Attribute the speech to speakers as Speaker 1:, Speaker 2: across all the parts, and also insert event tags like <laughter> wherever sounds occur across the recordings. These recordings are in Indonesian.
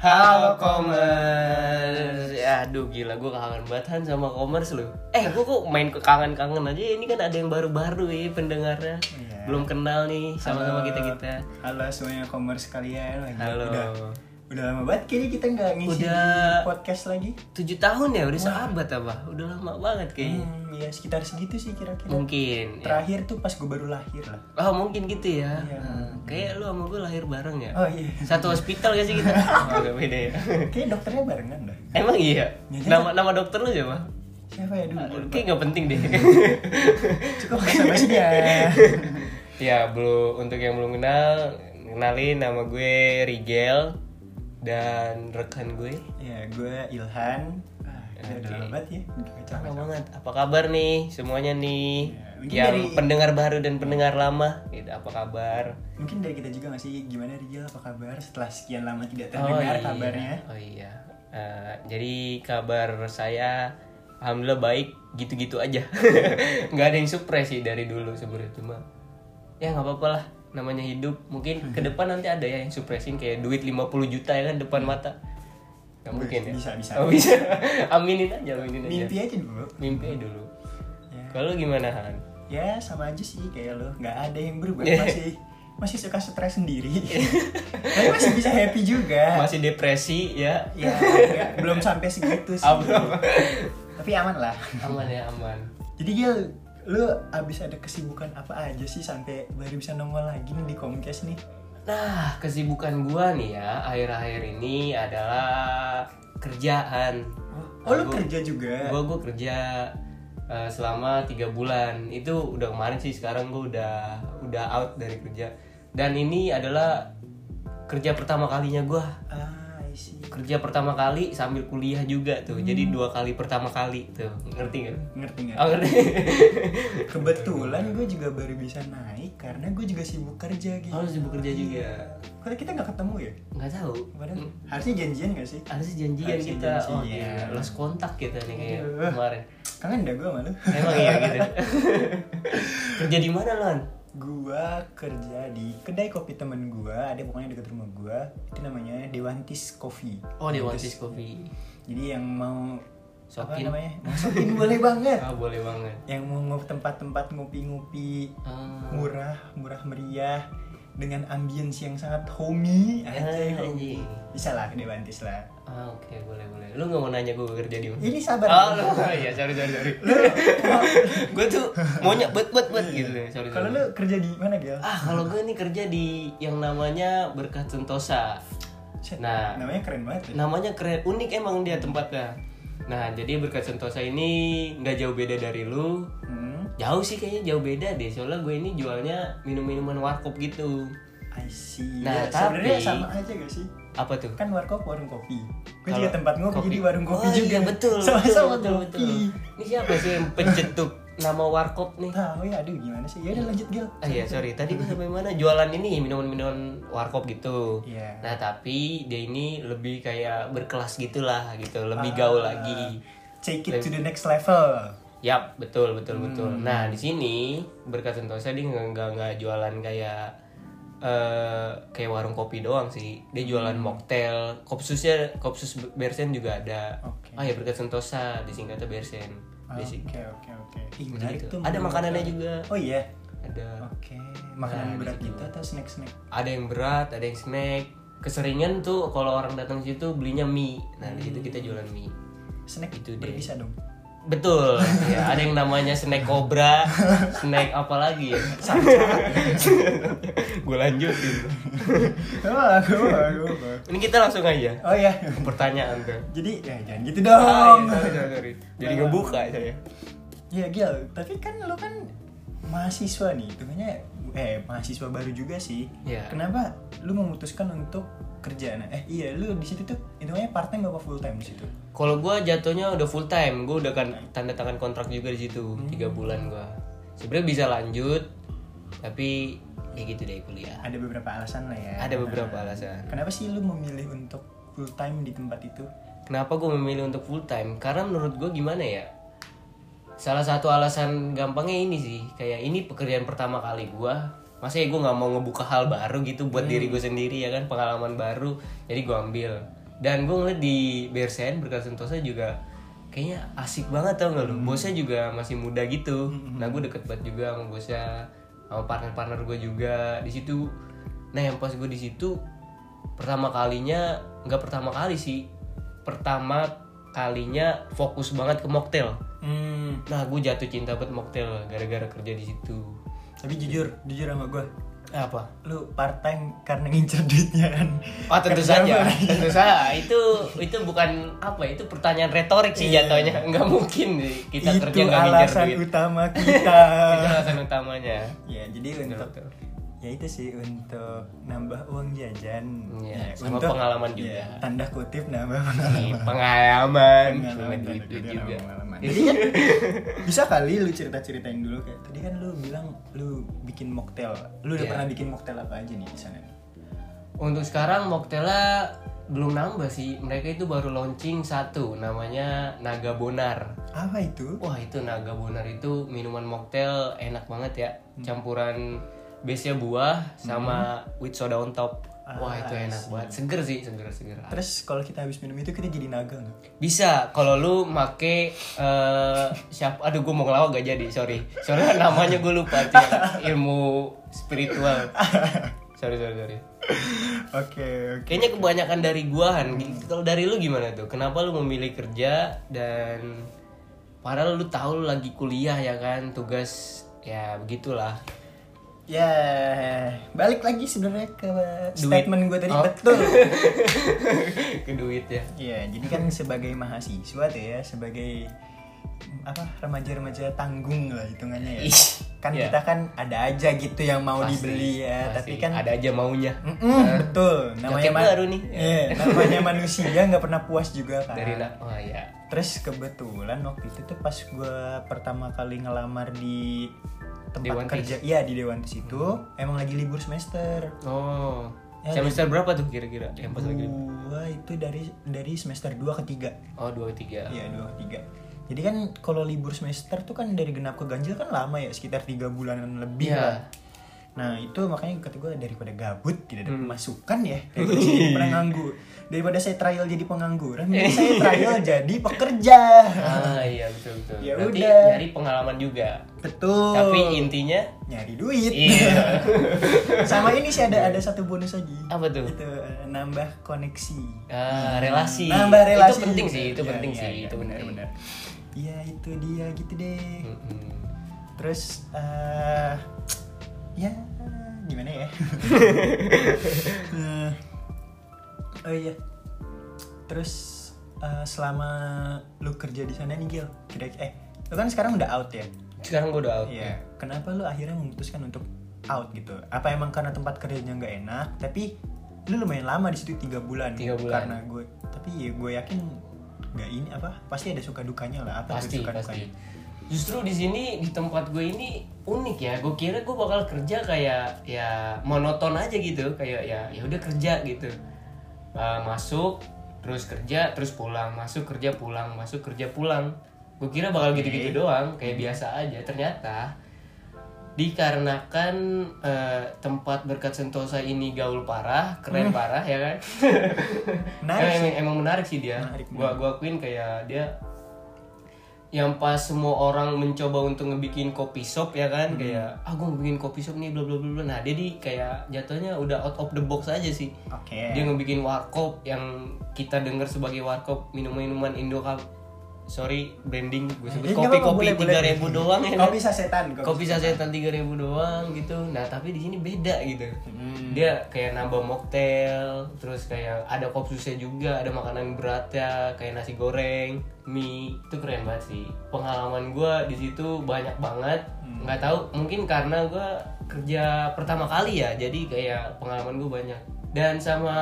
Speaker 1: Halo Commerce Ya, Aduh gila gue kangen banget sama Commerce lu Eh gue kok main ke kangen-kangen aja Ini kan ada yang baru-baru nih pendengarnya
Speaker 2: Iya.
Speaker 1: Belum kenal nih sama-sama
Speaker 2: Halo.
Speaker 1: kita-kita
Speaker 2: Halo semuanya commerce kalian lagi.
Speaker 1: Halo.
Speaker 2: Udah, udah lama banget kayaknya kita nggak ngisi
Speaker 1: Udah.
Speaker 2: podcast lagi.
Speaker 1: 7 tahun ya udah seabad apa Udah lama banget kayaknya
Speaker 2: Hmm, ya sekitar segitu sih kira-kira.
Speaker 1: Mungkin ya.
Speaker 2: Terakhir tuh pas gue baru lahir lah.
Speaker 1: Oh mungkin gitu ya
Speaker 2: Iya.
Speaker 1: Hmm, Kayak lu sama gue lahir bareng ya
Speaker 2: Oh iya. <laughs>
Speaker 1: Satu hospital gak sih kita? Agak beda ya
Speaker 2: Kayaknya dokternya barengan dah.
Speaker 1: Emang iya?
Speaker 2: Iya.
Speaker 1: Nama, nama dokter lu siapa?
Speaker 2: Siapa ya dulu?
Speaker 1: Kayaknya gak penting deh
Speaker 2: <laughs> Cukup bahasa
Speaker 1: <laughs>
Speaker 2: basinya.
Speaker 1: Ya, belum untuk yang belum kenal, kenalin nama gue Rigel dan rekan gue.
Speaker 2: ya gue Ilhan. Ah, gila, udah lama banget ya. Kacau.
Speaker 1: Apa banget? Apa kabar nih semuanya nih?
Speaker 2: Ya, mungkin
Speaker 1: yang
Speaker 2: dari-
Speaker 1: pendengar baru dan pendengar lama, gitu, apa kabar?
Speaker 2: Mungkin dari kita juga nggak sih gimana Rijal apa kabar setelah sekian lama tidak terdengar kabarnya?
Speaker 1: Oh iya. Eh, jadi kabar saya alhamdulillah baik, gitu-gitu aja. <laughs> nggak ada yang surprise sih dari dulu sebenarnya cuma ya nggak apa-apa lah namanya hidup
Speaker 2: Hmm.
Speaker 1: mungkin ke depan nanti ada ya yang surprisein kayak duit 50 juta ya kan depan mata nggak mungkin ya
Speaker 2: Hmm. bisa, bisa.
Speaker 1: Oh, bisa <laughs> aminin aja aminin aja
Speaker 2: Mimpi aja dulu.
Speaker 1: mimpi aja dulu
Speaker 2: Ya.
Speaker 1: kalau gimana Han
Speaker 2: ya sama aja sih kayak lo nggak ada yang berubah
Speaker 1: Iya.
Speaker 2: masih masih suka stres sendiri <laughs> tapi masih bisa happy juga
Speaker 1: masih depresi ya
Speaker 2: ya nggak- belum sampai segitu sih
Speaker 1: Apa?
Speaker 2: tapi aman lah
Speaker 1: aman ya aman
Speaker 2: jadi Gil lu abis ada kesibukan apa aja sih sampai baru bisa nongol lagi nih di Comcast nih
Speaker 1: Nah, kesibukan gua nih ya akhir-akhir ini adalah kerjaan.
Speaker 2: oh lu
Speaker 1: Gua-
Speaker 2: kerja juga
Speaker 1: Gua gua kerja eh, selama tiga bulan. Itu udah kemarin sih. Sekarang gua udah udah out dari kerja. Dan ini adalah kerja pertama kalinya gua.
Speaker 2: ah I see
Speaker 1: Kerja pertama kali sambil kuliah juga tuh. Jadi dua kali pertama kali tuh. Ngerti nggak?
Speaker 2: ngerti nggak
Speaker 1: Oh, ngerti.
Speaker 2: kebetulan gue juga baru bisa naik karena gue juga sibuk kerja gitu
Speaker 1: Harus Oh, sibuk kerja juga. Hmm.
Speaker 2: Kok kita nggak ketemu ya
Speaker 1: Nggak tahu.
Speaker 2: Padahal harusnya janjian gak sih
Speaker 1: Harus janjian Iya.
Speaker 2: Harusnya
Speaker 1: kita. Oh,
Speaker 2: janjian.
Speaker 1: gila. Lost kontak kita nih kayak
Speaker 2: Aduh.
Speaker 1: kemarin.
Speaker 2: kangen dah gue malu
Speaker 1: Emang iya <laughs> gitu. Kerja di mana Lan?
Speaker 2: <laughs> gua kerja di kedai kopi temen gua ada pokoknya deket rumah gua itu namanya Dewantis Coffee
Speaker 1: Oh di Wantis Coffee.
Speaker 2: jadi yang mau
Speaker 1: Sokin.
Speaker 2: apa namanya Mau sokin boleh banget
Speaker 1: Ah boleh banget.
Speaker 2: yang mau mau tempat-tempat ngopi-ngopi
Speaker 1: Ah,
Speaker 2: murah murah meriah dengan ambience yang sangat homey
Speaker 1: anjing.
Speaker 2: aja
Speaker 1: gitu?
Speaker 2: homey bisa lah ke Dewantis lah
Speaker 1: ah, oke boleh boleh. Lu nggak mau nanya gue kerja di mana?
Speaker 2: ini sabar
Speaker 1: Oh, lu, oh iya sorry sorry sorry. <laughs> gue tuh maunya bet bet bet gitu. Sorry.
Speaker 2: <laughs> kalau
Speaker 1: sorry.
Speaker 2: lu kerja di mana Gel?
Speaker 1: ah kalau gue nih kerja di yang namanya Berkah Sentosa.
Speaker 2: Shit,
Speaker 1: Nah.
Speaker 2: namanya keren banget ya
Speaker 1: namanya keren unik emang dia tempatnya nah jadi berkat sentosa ini nggak jauh beda dari lu
Speaker 2: hmm,
Speaker 1: jauh sih kayaknya jauh beda deh soalnya gue ini jualnya minum minuman warkop gitu
Speaker 2: I see
Speaker 1: Nah,
Speaker 2: Ya, sebenarnya
Speaker 1: tapi-
Speaker 2: sama aja gak sih
Speaker 1: apa tuh
Speaker 2: kan warkop warung kopi gue
Speaker 1: Kalau
Speaker 2: juga tempat ngopi
Speaker 1: kopi.
Speaker 2: jadi warung kopi
Speaker 1: oh,
Speaker 2: juga
Speaker 1: iya, betul
Speaker 2: <laughs> sama-sama
Speaker 1: betul
Speaker 2: kopi
Speaker 1: betul, betul. ini siapa sih yang pencetuk nama warkop nih
Speaker 2: tahu ya aduh gimana sih ya udah lanjut gil
Speaker 1: ah iya sorry tadi gue sampai mana jualan ini minuman minuman warkop gitu
Speaker 2: Iya.
Speaker 1: nah tapi dia ini lebih kayak berkelas gitulah gitu lebih
Speaker 2: Ah.
Speaker 1: gaul lagi
Speaker 2: take it to the next level
Speaker 1: Yap, betul
Speaker 2: Hmm.
Speaker 1: betul betul. Nah di sini berkat Sentosa dia nggak nggak nggak jualan kayak eh kayak warung kopi doang sih. Dia jualan
Speaker 2: Hmm.
Speaker 1: mocktail, kopsusnya kopsus Bersen juga ada.
Speaker 2: Oke.
Speaker 1: Ah ya berkat Sentosa disingkatnya Bersen. Basic.
Speaker 2: oke oke oke
Speaker 1: Gitu.
Speaker 2: Ih, menarik tuh
Speaker 1: Ada
Speaker 2: menarik.
Speaker 1: makanannya juga.
Speaker 2: oh iya
Speaker 1: Ada
Speaker 2: oke makanan
Speaker 1: Nah,
Speaker 2: berat
Speaker 1: di situ.
Speaker 2: gitu atau snack snack
Speaker 1: ada yang berat, ada yang snack. Keseringan tuh kalau orang datang situ belinya mie. Nah di situ kita jualan mie.
Speaker 2: snack
Speaker 1: Itu
Speaker 2: itu
Speaker 1: deh.
Speaker 2: berbisa dong <laughs>
Speaker 1: Betul, ya, ada yang namanya snack kobra, snack apa lagi ya? Gue lanjutin.
Speaker 2: oh aku aku aku.
Speaker 1: Ini kita langsung aja
Speaker 2: oh iya <laughs>
Speaker 1: ke pertanyaan tuh.
Speaker 2: jadi ya jangan gitu
Speaker 1: Ah,
Speaker 2: dong
Speaker 1: iya, sorry, sorry, sorry. Jadi ngebuka ya. saya.
Speaker 2: Iya Gil, tapi kan lo kan mahasiswa nih, hitungannya eh mahasiswa baru juga sih.
Speaker 1: Iya.
Speaker 2: Kenapa lu memutuskan untuk kerja? Nah, eh iya lu di situ tuh hitungannya part time apa full time di situ?
Speaker 1: Kalau gua jatuhnya udah full time, gua udah kan tanda tangan kontrak juga di situ tiga bulan gua. Sebenarnya bisa lanjut, tapi ya gitu deh kuliah.
Speaker 2: Ada beberapa alasan lah ya.
Speaker 1: Ada beberapa alasan.
Speaker 2: Kenapa sih lu memilih untuk full time di tempat itu?
Speaker 1: Kenapa gue memilih untuk full time? Karena menurut gue gimana ya? Salah satu alasan gampangnya ini sih, kayak ini pekerjaan pertama kali gue. Masa ya gue nggak mau ngebuka hal baru gitu buat diri gue sendiri ya kan, pengalaman baru. Jadi gue ambil. dan gue ngeliat di Bersen berkat Sentosa juga kayaknya asik banget tau gak lo bosnya juga masih muda gitu nah gue deket banget juga sama bosnya sama partner-partner gue juga di situ nah yang pas gue di situ pertama kalinya nggak pertama kali sih pertama kalinya fokus banget ke mocktail
Speaker 2: Hmm,
Speaker 1: nah gue jatuh cinta banget mocktail gara-gara kerja di situ
Speaker 2: tapi jujur, jujur sama gue.
Speaker 1: apa
Speaker 2: Lu part time karena ngincer duitnya kan.
Speaker 1: Oh tentu
Speaker 2: Kerja
Speaker 1: saja,
Speaker 2: apa?
Speaker 1: <laughs> tentu saja. Itu itu bukan apa? ya, Itu pertanyaan retorik sih jatuhnya. <laughs> Nggak mungkin sih kita
Speaker 2: Itu
Speaker 1: kerja nggak ngejar
Speaker 2: alasan
Speaker 1: duit.
Speaker 2: utama kita.
Speaker 1: <laughs> Itu alasan utamanya. <laughs>
Speaker 2: ya, jadi untuk
Speaker 1: Betul.
Speaker 2: ya itu sih untuk nambah uang jajan
Speaker 1: Iya, sama pengalaman juga.
Speaker 2: ya, tanda kutip nambah pengalaman
Speaker 1: Ini Pengalaman,
Speaker 2: Pengalaman,
Speaker 1: cuma
Speaker 2: tanda
Speaker 1: duit
Speaker 2: kutip,
Speaker 1: juga. Iya.
Speaker 2: nambah pengalaman. Jadi kan, <laughs> bisa kali lu cerita ceritain dulu kayak tadi kan lu bilang lu bikin mocktail lu
Speaker 1: Iya.
Speaker 2: udah pernah bikin mocktail apa aja nih di sana nih?
Speaker 1: Untuk sekarang Moktela belum nambah sih. Mereka itu baru launching satu namanya Naga Bonar.
Speaker 2: apa itu
Speaker 1: Wah itu naga bonar itu minuman mocktail enak banget ya Campuran base buah sama with soda on top Wah itu
Speaker 2: Ah,
Speaker 1: enak banget, seger sih, seger-seger
Speaker 2: terus kalau kita habis minum itu kita jadi naga nggak
Speaker 1: <laughs> Bisa, kalau lu make eh siapa, aduh gue mau ngelawak gak jadi, sorry Soalnya namanya gue lupa tuh yang ilmu spiritual Sorry, sorry, sorry
Speaker 2: oke oke
Speaker 1: Kayaknya kebanyakan dari gua Han. Kalau dari lu gimana tuh? Kenapa lu memilih kerja dan padahal lu tahu lu lagi kuliah ya kan, tugas ya begitulah. <coughs>
Speaker 2: ya balik lagi sebenarnya ke
Speaker 1: Duit.
Speaker 2: statement gue tadi
Speaker 1: Oh. <laughs>
Speaker 2: betul
Speaker 1: Ke duit ya.
Speaker 2: Iya, jadi kan sebagai mahasiswa tuh ya, sebagai mm, apa remaja-remaja tanggung lah hitungannya ya.
Speaker 1: Ih,
Speaker 2: Kan
Speaker 1: iya.
Speaker 2: kita kan ada aja gitu yang mau
Speaker 1: Pasti,
Speaker 2: dibeli ya,
Speaker 1: pasti.
Speaker 2: tapi kan
Speaker 1: ada aja maunya.
Speaker 2: Mm-mm, betul. Namanya
Speaker 1: Jaket
Speaker 2: ma-
Speaker 1: baru nih. <laughs>
Speaker 2: Iya, namanya manusia nggak pernah puas juga kan.
Speaker 1: Dari nak. Oh ya.
Speaker 2: Terus kebetulan waktu itu tuh pas gue pertama kali ngelamar di tempat
Speaker 1: Dewantis.
Speaker 2: kerja, iya di Dewantis itu
Speaker 1: Hmm.
Speaker 2: emang lagi libur semester.
Speaker 1: Oh.
Speaker 2: Ya,
Speaker 1: semester berapa tuh kira-kira? Yang pas lagi.
Speaker 2: Gua itu dari dari semester 2 ke 3
Speaker 1: Oh, 2 3.
Speaker 2: Iya dua tiga. Jadi kan kalau libur semester tuh kan dari genap ke ganjil kan lama ya sekitar tiga bulanan lebih
Speaker 1: Iya.
Speaker 2: lah. Nah itu makanya kata gue daripada gabut tidak
Speaker 1: Hmm.
Speaker 2: ada pemasukan
Speaker 1: <laughs>
Speaker 2: ya daripada saya jadi penganggur daripada saya trial jadi
Speaker 1: <laughs>
Speaker 2: pengangguran mending saya trial jadi pekerja.
Speaker 1: Ah, iya betul betul.
Speaker 2: Ya
Speaker 1: Berarti
Speaker 2: udah. Oh.
Speaker 1: nyari pengalaman juga.
Speaker 2: Betul.
Speaker 1: Tapi intinya
Speaker 2: nyari duit.
Speaker 1: Iya.
Speaker 2: <laughs> Sama ini sih ada ada satu bonus lagi.
Speaker 1: Apa tuh?
Speaker 2: Itu eh, nambah koneksi.
Speaker 1: ah, relasi.
Speaker 2: Nambah
Speaker 1: Itu
Speaker 2: relasi.
Speaker 1: penting sih, itu
Speaker 2: Iya,
Speaker 1: penting
Speaker 2: iya,
Speaker 1: sih,
Speaker 2: iya,
Speaker 1: itu Hmm. penting.
Speaker 2: benar-benar. Iya itu dia gitu deh.
Speaker 1: Mm-mm.
Speaker 2: Terus eh ya gimana
Speaker 1: <laughs>
Speaker 2: ya? Eh, oh iya. Terus eh, selama lu kerja di sana nih Gil, kira eh lu kan sekarang udah out ya?
Speaker 1: Sekarang gue udah out.
Speaker 2: Iya. Kenapa lu akhirnya memutuskan untuk out gitu? Apa emang karena tempat kerjanya nggak enak? Tapi lu lumayan lama di situ tiga bulan.
Speaker 1: Tiga bulan.
Speaker 2: Karena gue, tapi ya gue yakin nggak ini apa? Pasti ada suka dukanya lah. Apa tuh
Speaker 1: pasti
Speaker 2: suka
Speaker 1: pasti
Speaker 2: dukanya?
Speaker 1: justru di sini di tempat gue ini unik ya gue kira gue bakal kerja kayak ya monoton aja gitu kayak ya ya udah kerja gitu Uh, masuk terus kerja terus pulang masuk kerja pulang masuk kerja pulang gue kira bakal gitu-gitu doang kayak biasa aja ternyata dikarenakan eh, tempat berkat sentosa ini gaul parah keren parah ya kan
Speaker 2: Hmm. <laughs> Menarik
Speaker 1: Emang- emang, emang menarik sih dia
Speaker 2: Menarik,
Speaker 1: gua gua akuin kayak dia yang pas semua orang mencoba untuk ngebikin kopi shop ya kan
Speaker 2: Hmm.
Speaker 1: kayak ah gua mau bikin kopi shop nih bla bla bla bla." nah dia di kayak jatuhnya udah out of the box aja sih
Speaker 2: Oke.
Speaker 1: dia ngebikin warkop yang kita dengar sebagai warkop minum-minuman Indo Cup sorry branding gue sebut
Speaker 2: Eh, nggak apa-apa,
Speaker 1: kopi-kopi
Speaker 2: boleh, boleh.
Speaker 1: tiga ribu doang ya kan?
Speaker 2: Kopi sasetan.
Speaker 1: kopi sasetan tiga ribu doang gitu nah tapi di sini beda gitu dia kayak nambah mocktail terus kayak ada kopsusnya juga ada makanan berat ya kayak nasi goreng mie itu keren banget sih pengalaman gua di situ banyak banget nggak tahu mungkin karena gua kerja pertama kali ya jadi kayak pengalaman gue banyak dan sama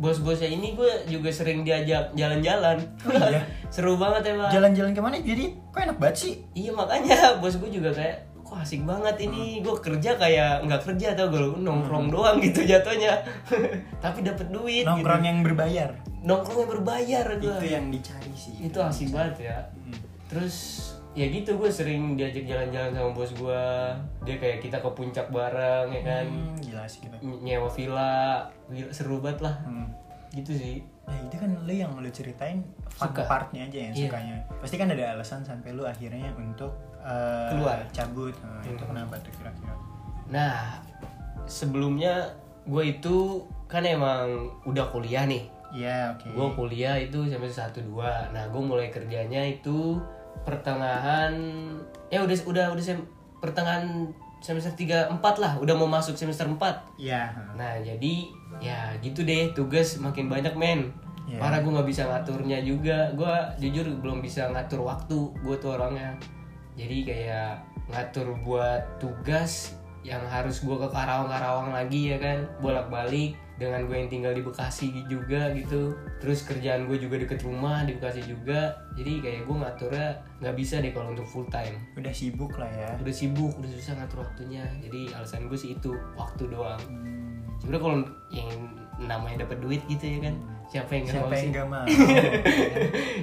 Speaker 1: bos-bosnya ini gue juga sering diajak jalan-jalan
Speaker 2: iya?
Speaker 1: <laughs> seru banget ya Bang.
Speaker 2: Jalan-jalan kemana? Jadi kok enak banget sih?
Speaker 1: Iya makanya <laughs> bos gue juga kayak kok asik banget
Speaker 2: Hmm.
Speaker 1: ini gue kerja kayak nggak kerja tau gue nongkrong doang gitu jatuhnya <laughs> tapi dapat duit
Speaker 2: Nongkrong yang berbayar.
Speaker 1: gitu. nongkrongnya berbayar gue
Speaker 2: Itu ya. Hmm. yang dicari sih.
Speaker 1: itu asik banget ya terus ya gitu gue sering diajak jalan-jalan sama bos gue dia kayak kita ke puncak bareng ya kan
Speaker 2: Hmm, gila sih kita.
Speaker 1: Ny- nyewa villa Gila, seru banget lah
Speaker 2: Hmm.
Speaker 1: gitu sih
Speaker 2: Nah itu kan lu yang lu ceritain fun
Speaker 1: Suka.
Speaker 2: partnya aja yang
Speaker 1: Iya.
Speaker 2: sukanya. Pasti kan ada alasan sampai lu akhirnya untuk eh,
Speaker 1: Keluar. Hmm.
Speaker 2: cabut. Nah, Itu kenapa tuh kira-kira?
Speaker 1: nah sebelumnya gue itu kan emang udah kuliah nih
Speaker 2: Iya oke.
Speaker 1: gue kuliah itu semester satu dua nah gue mulai kerjanya itu pertengahan ya udah udah udah sem- pertengahan semester 3 4 lah udah mau masuk semester 4
Speaker 2: Iya.
Speaker 1: Nah jadi ya gitu deh tugas makin banyak men.
Speaker 2: Iya.
Speaker 1: Parah gue nggak bisa ngaturnya juga. Gue jujur belum bisa ngatur waktu gue tuh orangnya. Jadi kayak ngatur buat tugas yang harus gue ke Karawang-Karawang lagi ya kan bolak-balik dengan gue yang tinggal di Bekasi juga gitu terus kerjaan gue juga deket rumah di Bekasi juga jadi kayak gue ngaturnya nggak bisa deh kalau untuk full time
Speaker 2: Udah sibuk lah ya.
Speaker 1: udah sibuk udah susah ngatur waktunya jadi alasan gue sih itu waktu doang sebenarnya kalau yang namanya dapat duit gitu ya kan siapa yang nggak
Speaker 2: Siapa
Speaker 1: mau
Speaker 2: yang
Speaker 1: sih
Speaker 2: gak mau?
Speaker 1: <laughs>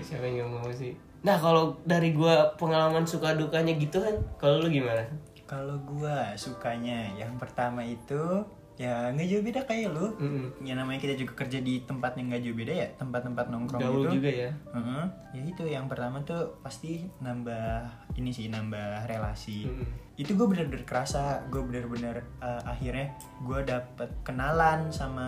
Speaker 1: siapa yang nggak mau sih nah kalau dari gue pengalaman suka dukanya gitu kan kalau lu gimana
Speaker 2: Kalau gua sukanya yang pertama itu ya nggak jauh beda kayak lu.
Speaker 1: Mm-mm.
Speaker 2: Ya namanya kita juga kerja di tempat yang nggak jauh beda ya, tempat-tempat nongkrong
Speaker 1: gaul
Speaker 2: gitu.
Speaker 1: juga ya
Speaker 2: Heeh. Ya itu yang pertama tuh pasti nambah ini sih nambah relasi.
Speaker 1: Mm-mm.
Speaker 2: Itu gue bener-bener kerasa, gue bener-bener eh, akhirnya gue dapet kenalan sama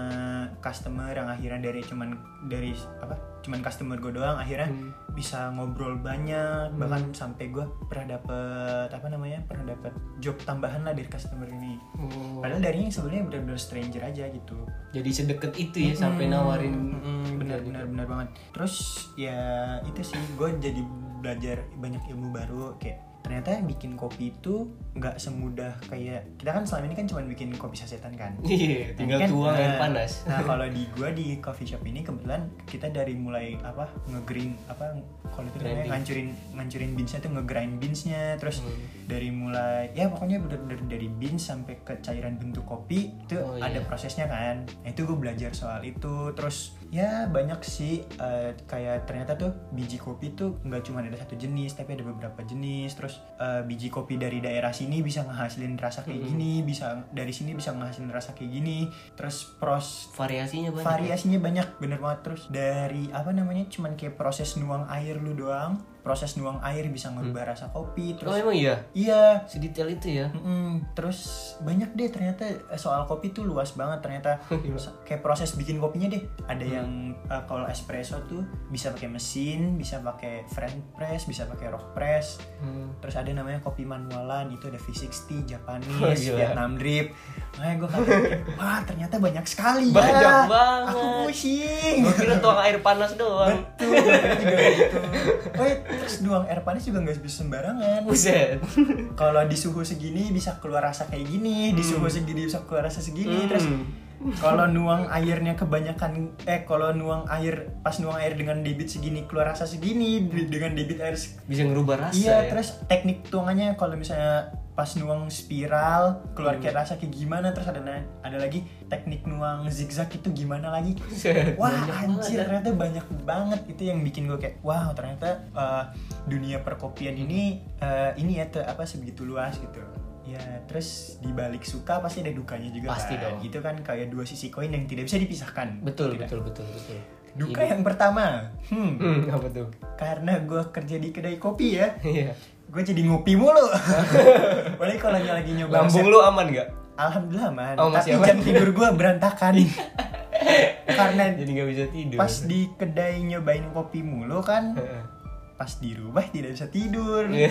Speaker 2: customer yang akhirnya dari cuman dari apa? Cuman customer gue doang akhirnya
Speaker 1: Hmm.
Speaker 2: bisa ngobrol banyak bahkan sampai gue pernah dapet apa namanya? Pernah dapet job tambahan lah dari customer ini.
Speaker 1: Oh,
Speaker 2: Padahal darinya sebenarnya bener-bener stranger aja gitu
Speaker 1: jadi sedekat itu ya sampai nawarin
Speaker 2: Hmm.
Speaker 1: gitu.
Speaker 2: benar benar benar banget terus ya itu sih gue jadi belajar banyak ilmu baru kayak ternyata bikin kopi itu nggak semudah kayak kita kan selama ini kan cuma bikin kopi sasetan kan
Speaker 1: iya tinggal
Speaker 2: Nah, kan,
Speaker 1: tuang air
Speaker 2: nah,
Speaker 1: panas
Speaker 2: nah kalau di gua di coffee shop ini kebetulan kita dari mulai apa nge-green apa kalau itu namanya
Speaker 1: Grinding.
Speaker 2: ngancurin ngancurin beansnya tuh nge-grind beansnya terus
Speaker 1: Hmm.
Speaker 2: dari mulai ya pokoknya bener-bener dari beans sampai ke cairan bentuk kopi itu
Speaker 1: Oh,
Speaker 2: ada
Speaker 1: iya.
Speaker 2: prosesnya kan nah, itu gue belajar soal itu terus ya banyak sih eh, kayak ternyata tuh biji kopi tuh nggak cuma ada satu jenis tapi ada beberapa jenis terus eh, biji kopi dari daerah sini bisa ngehasilin rasa kayak
Speaker 1: Mm-mm.
Speaker 2: gini bisa dari sini bisa ngehasilin rasa kayak gini terus pros
Speaker 1: variasinya banyak ya?
Speaker 2: variasinya banyak bener banget terus dari apa namanya cuman kayak proses nuang air lu doang proses nuang air bisa ngerubah rasa kopi
Speaker 1: oh
Speaker 2: terus
Speaker 1: emang iya
Speaker 2: iya
Speaker 1: sedetail itu ya
Speaker 2: Mm-mm. terus banyak deh ternyata eh, soal kopi tuh luas banget
Speaker 1: <laughs>
Speaker 2: ternyata
Speaker 1: Iya.
Speaker 2: Sa- kayak proses bikin kopinya deh ada
Speaker 1: Hmm.
Speaker 2: yang eh, kalau espresso tuh bisa pakai mesin bisa pakai French press bisa pakai rock press
Speaker 1: Hmm.
Speaker 2: terus ada namanya kopi manualan itu ada V60 Japanese
Speaker 1: <laughs> Oh, gila.
Speaker 2: Vietnam drip makanya
Speaker 1: <laughs>
Speaker 2: gue kaget wah ternyata banyak sekali ya.
Speaker 1: Banyak banget.
Speaker 2: aku pusing
Speaker 1: Hmm. Gua kira tuang air panas doang
Speaker 2: betul gua kira juga
Speaker 1: <laughs>
Speaker 2: gitu oh iya, terus doang air panas juga nggak bisa sembarangan
Speaker 1: Buset.
Speaker 2: kalau di suhu segini bisa keluar rasa kayak gini di suhu segini bisa keluar rasa segini
Speaker 1: Hmm.
Speaker 2: terus kalau nuang airnya kebanyakan eh kalau nuang air pas nuang air dengan debit segini keluar rasa segini di- dengan debit air se-
Speaker 1: Bisa ngerubah rasa
Speaker 2: iya
Speaker 1: ya.
Speaker 2: terus teknik tuangannya kalau misalnya pas nuang spiral keluar
Speaker 1: Hmm.
Speaker 2: kayak rasa kayak gimana terus ada na- ada lagi teknik nuang zigzag itu gimana lagi
Speaker 1: Buset,
Speaker 2: wah
Speaker 1: banyak banget
Speaker 2: anjir
Speaker 1: ya.
Speaker 2: ternyata banyak banget itu yang bikin gue kayak wow ternyata uh, dunia perkopian ini uh, ini ya te- apa sebegitu luas gitu ya terus dibalik suka pasti ada dukanya juga
Speaker 1: Pasti
Speaker 2: kan
Speaker 1: dong.
Speaker 2: itu kan kayak dua sisi koin yang tidak bisa dipisahkan
Speaker 1: Betul,
Speaker 2: Tidak.
Speaker 1: betul, betul, betul.
Speaker 2: duka
Speaker 1: Ini-
Speaker 2: yang pertama hmm,
Speaker 1: Hmm, apa tuh? <laughs>
Speaker 2: karena gue kerja di kedai kopi ya
Speaker 1: Iya.
Speaker 2: gue jadi
Speaker 1: <laughs>
Speaker 2: ngopi mulu Padahal kalau lagi nyoba
Speaker 1: Lambung
Speaker 2: resep-
Speaker 1: lu aman gak?
Speaker 2: alhamdulillah man
Speaker 1: Oh,
Speaker 2: tapi
Speaker 1: masih aman.
Speaker 2: jam tidur gue
Speaker 1: <laughs>
Speaker 2: berantakan karena
Speaker 1: Jadi gak bisa tidur.
Speaker 2: pas di kedai nyobain kopi mulu kan
Speaker 1: Heeh.
Speaker 2: pas di rumah tidak bisa tidur
Speaker 1: Iya.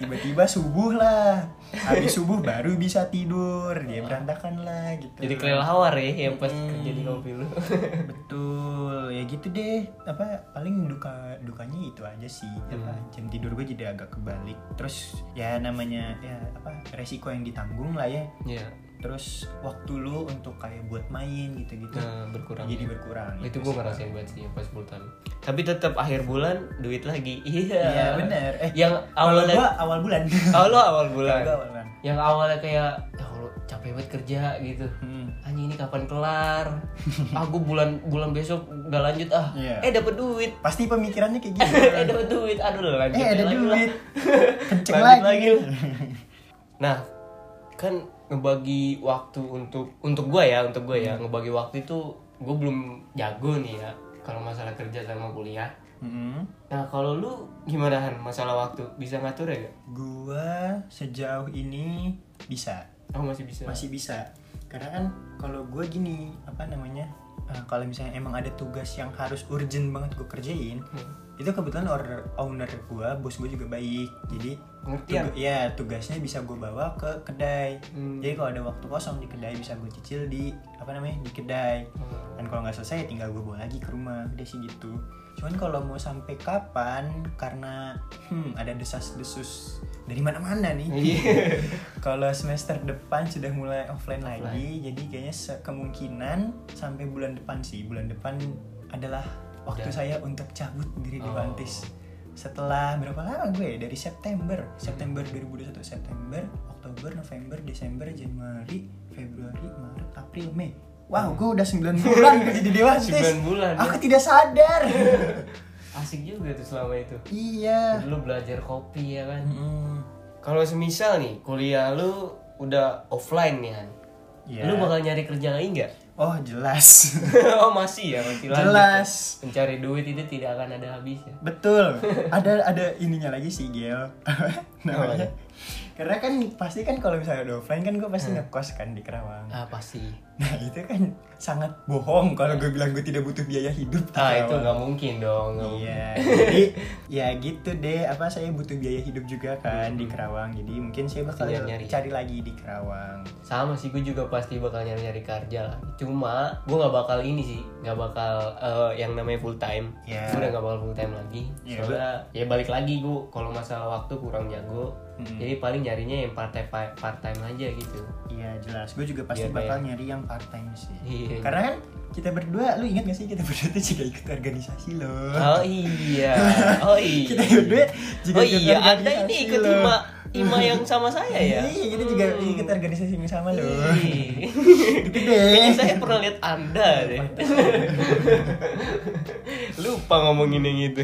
Speaker 2: tiba-tiba subuh lah habis subuh baru bisa tidur dia berantakan lah gitu
Speaker 1: Jadi kelelawar ya yang pas
Speaker 2: Hmm.
Speaker 1: kerja di kopi lu.
Speaker 2: betul ya gitu deh apa paling duka dukanya itu aja sih apa,
Speaker 1: Hmm.
Speaker 2: jam tidur gue jadi agak kebalik terus ya namanya ya apa resiko yang ditanggung lah ya
Speaker 1: <laughs> Iya.
Speaker 2: terus waktu lu untuk kayak buat main gitu-gitu
Speaker 1: Nah, berkurang.
Speaker 2: jadi berkurang
Speaker 1: itu
Speaker 2: gitu
Speaker 1: gue
Speaker 2: sih.
Speaker 1: ngerasain banget sih yang pas full time. Tapi tetap akhir bulan duit lagi. <laughs> Iya.
Speaker 2: Iya bener eh
Speaker 1: Yang
Speaker 2: awal
Speaker 1: awalnya <laughs>
Speaker 2: gua awal bulan
Speaker 1: Oh, lu awal bulan.
Speaker 2: Gua awal bulan
Speaker 1: Yang awalnya kayak ya Allah capek banget kerja gitu.
Speaker 2: Hmm.
Speaker 1: Anjing ini kapan kelar? <laughs> Aku bulan bulan besok gak lanjut ah.
Speaker 2: Iya.
Speaker 1: Eh dapat duit.
Speaker 2: pasti pemikirannya kayak gitu
Speaker 1: eh <laughs> ada duit aduh lanjut
Speaker 2: eh ada
Speaker 1: lagi <laughs>
Speaker 2: duit
Speaker 1: lah.
Speaker 2: kenceng
Speaker 1: Lanjut
Speaker 2: lagi,
Speaker 1: lah. nah
Speaker 2: Hmm.
Speaker 1: kan ngebagi waktu untuk untuk gue ya untuk gue ya ngebagi waktu itu gue belum jago nih ya kalau masalah kerja sama kuliah
Speaker 2: <laughs> Mm-mm.
Speaker 1: nah kalau lu gimana Han masalah waktu bisa ngatur ya gak?
Speaker 2: Gua sejauh ini bisa,
Speaker 1: Oh masih bisa
Speaker 2: masih bisa. Karena kan kalau gua gini apa namanya? eh, kalau misalnya emang ada tugas yang harus urgent banget gue kerjain,
Speaker 1: Hmm.
Speaker 2: itu kebetulan order owner gua, bos gue juga baik. Jadi
Speaker 1: pengertian
Speaker 2: tuga- ya tugasnya bisa gue bawa ke kedai.
Speaker 1: Hmm.
Speaker 2: Jadi kalau ada waktu kosong di kedai bisa gue cicil di apa namanya di kedai.
Speaker 1: Hmm.
Speaker 2: Dan kalau nggak selesai ya tinggal gue bawa lagi ke rumah udah sih gitu. Cuman kalau mau sampai kapan karena hmm, ada desas-desus dari mana-mana nih.
Speaker 1: Iya. <laughs>
Speaker 2: kalau semester depan sudah mulai offline lagi, jadi kayaknya se- kemungkinan sampai bulan depan sih. Bulan depan adalah waktu
Speaker 1: Udah.
Speaker 2: saya untuk cabut diri di
Speaker 1: Oh.
Speaker 2: Bantis. Setelah berapa lama gue? ya? Dari September,
Speaker 1: Hmm.
Speaker 2: September 2021, September, Oktober, November, Desember, Januari, Februari, Maret, April, Mei. Wow, gue udah 9
Speaker 1: <laughs>
Speaker 2: bulan gue jadi Dewantis.
Speaker 1: 9 Hmm. bulan, ya.
Speaker 2: Aku tidak
Speaker 1: <laughs>
Speaker 2: sadar.
Speaker 1: asik juga tuh selama itu
Speaker 2: iya.
Speaker 1: dulu belajar kopi ya kan
Speaker 2: Mm,
Speaker 1: kalau semisal nih kuliah lu udah offline nih Han
Speaker 2: Iya.
Speaker 1: lu bakal nyari kerja lagi nggak
Speaker 2: Oh, jelas.
Speaker 1: <laughs> oh masih ya masih lanjut
Speaker 2: Jelas.
Speaker 1: ya. mencari duit itu tidak akan ada habisnya
Speaker 2: Betul. Ada ada ininya lagi sih,
Speaker 1: <laughs>
Speaker 2: Gel.
Speaker 1: Namanya?
Speaker 2: Namanya. Karena kan pasti kan kalau misalnya udah offline kan gue pasti ngekos kan di Kerawang.
Speaker 1: Hmm. ah pasti
Speaker 2: Nah, itu kan sangat bohong kalau gue bilang gue tidak butuh biaya hidup di
Speaker 1: ah itu
Speaker 2: Kerawang.
Speaker 1: nggak mungkin dong nggak mungkin.
Speaker 2: Iya, jadi ya gitu deh. Apa saya butuh biaya hidup juga kan di Kerawang. Jadi mungkin saya bakal
Speaker 1: Hmm. Pasti nyari-nyari.
Speaker 2: cari lagi di Kerawang.
Speaker 1: sama sih gue juga pasti bakal nyari nyari kerja lah cuma gue nggak bakal ini sih nggak bakal eh, yang namanya full time
Speaker 2: Ya.
Speaker 1: gue udah nggak bakal full time lagi
Speaker 2: Ya,
Speaker 1: soalnya ya balik lagi gue kalau masalah waktu kurang jago
Speaker 2: Mm-mm.
Speaker 1: jadi paling nyarinya yang part time part time aja gitu
Speaker 2: Iya, jelas. Gue juga pasti
Speaker 1: Biar
Speaker 2: bakal nyari yang part time sih.
Speaker 1: Iya.
Speaker 2: Karena kan kita berdua, lu ingat gak sih kita berdua tuh juga ikut organisasi loh.
Speaker 1: oh
Speaker 2: <laughs>
Speaker 1: iya oh iya
Speaker 2: kita berdua juga
Speaker 1: oh
Speaker 2: ikut
Speaker 1: iya anda
Speaker 2: organisasi
Speaker 1: ini ikut
Speaker 2: loh.
Speaker 1: ima ima yang sama saya ya
Speaker 2: <laughs> Iya, kita juga
Speaker 1: Hmm.
Speaker 2: ikut organisasi yang sama loh.
Speaker 1: Ih.
Speaker 2: gitu deh.
Speaker 1: Kayaknya saya pernah lihat anda deh <laughs> lupa ngomongin yang itu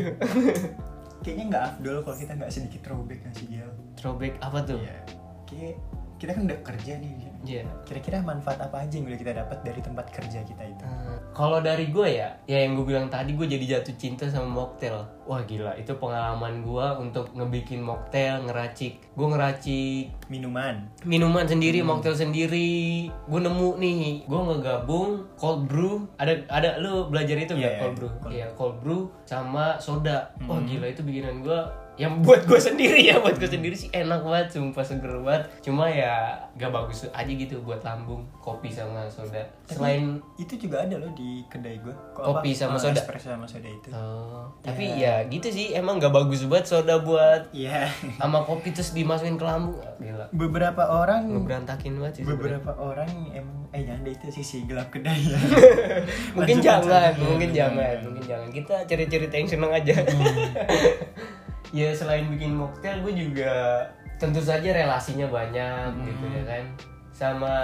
Speaker 2: Kayaknya nggak afdol kalau kita nggak sedikit throwback nggak sih Gel?
Speaker 1: throwback apa tuh
Speaker 2: Iya. Kayak kita kan udah kerja nih. Gel.
Speaker 1: Iya.
Speaker 2: Kira-kira manfaat apa aja yang udah kita dapat dari tempat kerja kita itu?
Speaker 1: Hmm, Kalau dari gue ya, ya yang gue bilang tadi gue jadi jatuh cinta sama mocktail. Wah gila, itu pengalaman gue untuk ngebikin mocktail, ngeracik. Gue ngeracik
Speaker 2: Minuman.
Speaker 1: minuman sendiri,
Speaker 2: Hmm.
Speaker 1: mocktail sendiri. Gue nemu nih, gue ngegabung cold brew. Ada ada lu belajar itu nggak cold
Speaker 2: Iya, iya, Hmm.
Speaker 1: brew?
Speaker 2: cold
Speaker 1: Iya, cold brew sama soda. Wah gila itu bikinan gue yang buat gue <laughs> sendiri ya buat gue sendiri sih enak banget sumpah seger banget cuma ya gak bagus aja gitu buat lambung kopi sama soda selain
Speaker 2: Itu juga ada loh di kedai gue.
Speaker 1: Kopi sama soda.
Speaker 2: Ah, Espresso sama soda itu.
Speaker 1: Oh, tapi ya gitu sih emang nggak bagus buat soda buat
Speaker 2: Iya. <laughs>
Speaker 1: sama kopi terus dimasukin ke lambung Ah, gila
Speaker 2: beberapa orang
Speaker 1: ngeberantakin banget sih sebenarnya.
Speaker 2: Hmm. beberapa orang emang eh jangan deh itu sisi gelap kedai ya.
Speaker 1: <laughs> mungkin
Speaker 2: Lanjut,
Speaker 1: jangan
Speaker 2: lanjut.
Speaker 1: mungkin jangan mungkin jangan kita cerita-cerita yang seneng aja Hmm. <laughs> ya selain bikin mocktail gue juga tentu saja relasinya banyak gitu ya kan sama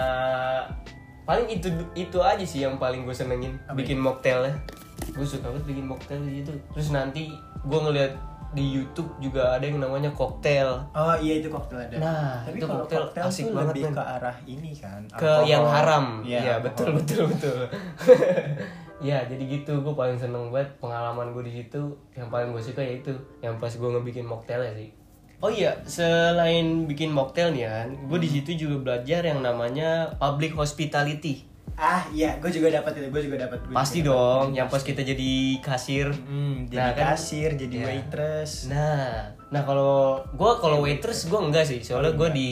Speaker 1: paling itu itu aja sih yang paling gue senengin bikin mocktailnya gue suka banget bikin mocktail gitu terus nanti gue ngeliat di YouTube juga ada yang namanya cocktail
Speaker 2: Oh iya itu koktel ada.
Speaker 1: Nah,
Speaker 2: tapi
Speaker 1: itu
Speaker 2: kalau
Speaker 1: koktel
Speaker 2: koktel
Speaker 1: asik
Speaker 2: tuh
Speaker 1: banget,
Speaker 2: lebih
Speaker 1: men.
Speaker 2: ke arah ini kan.
Speaker 1: ke
Speaker 2: alkohol.
Speaker 1: yang haram
Speaker 2: Iya,
Speaker 1: ya, betul
Speaker 2: alkohol.
Speaker 1: betul betul <laughs> ya jadi gitu gue paling seneng banget pengalaman gue di situ yang paling gue suka yaitu yang pas gue ngebikin mocktail sih oh iya selain bikin mocktail nih kan gue di situ juga belajar yang namanya public hospitality
Speaker 2: Ah iya, gue juga dapat itu, gue juga dapat.
Speaker 1: pasti dong yang pas kita jadi kasir
Speaker 2: Hmm, jadi
Speaker 1: Nah, kan-
Speaker 2: kasir, jadi
Speaker 1: Iya.
Speaker 2: waitress.
Speaker 1: Nah, nah kalau gue kalau waitress gue Iya, enggak sih, soalnya gue di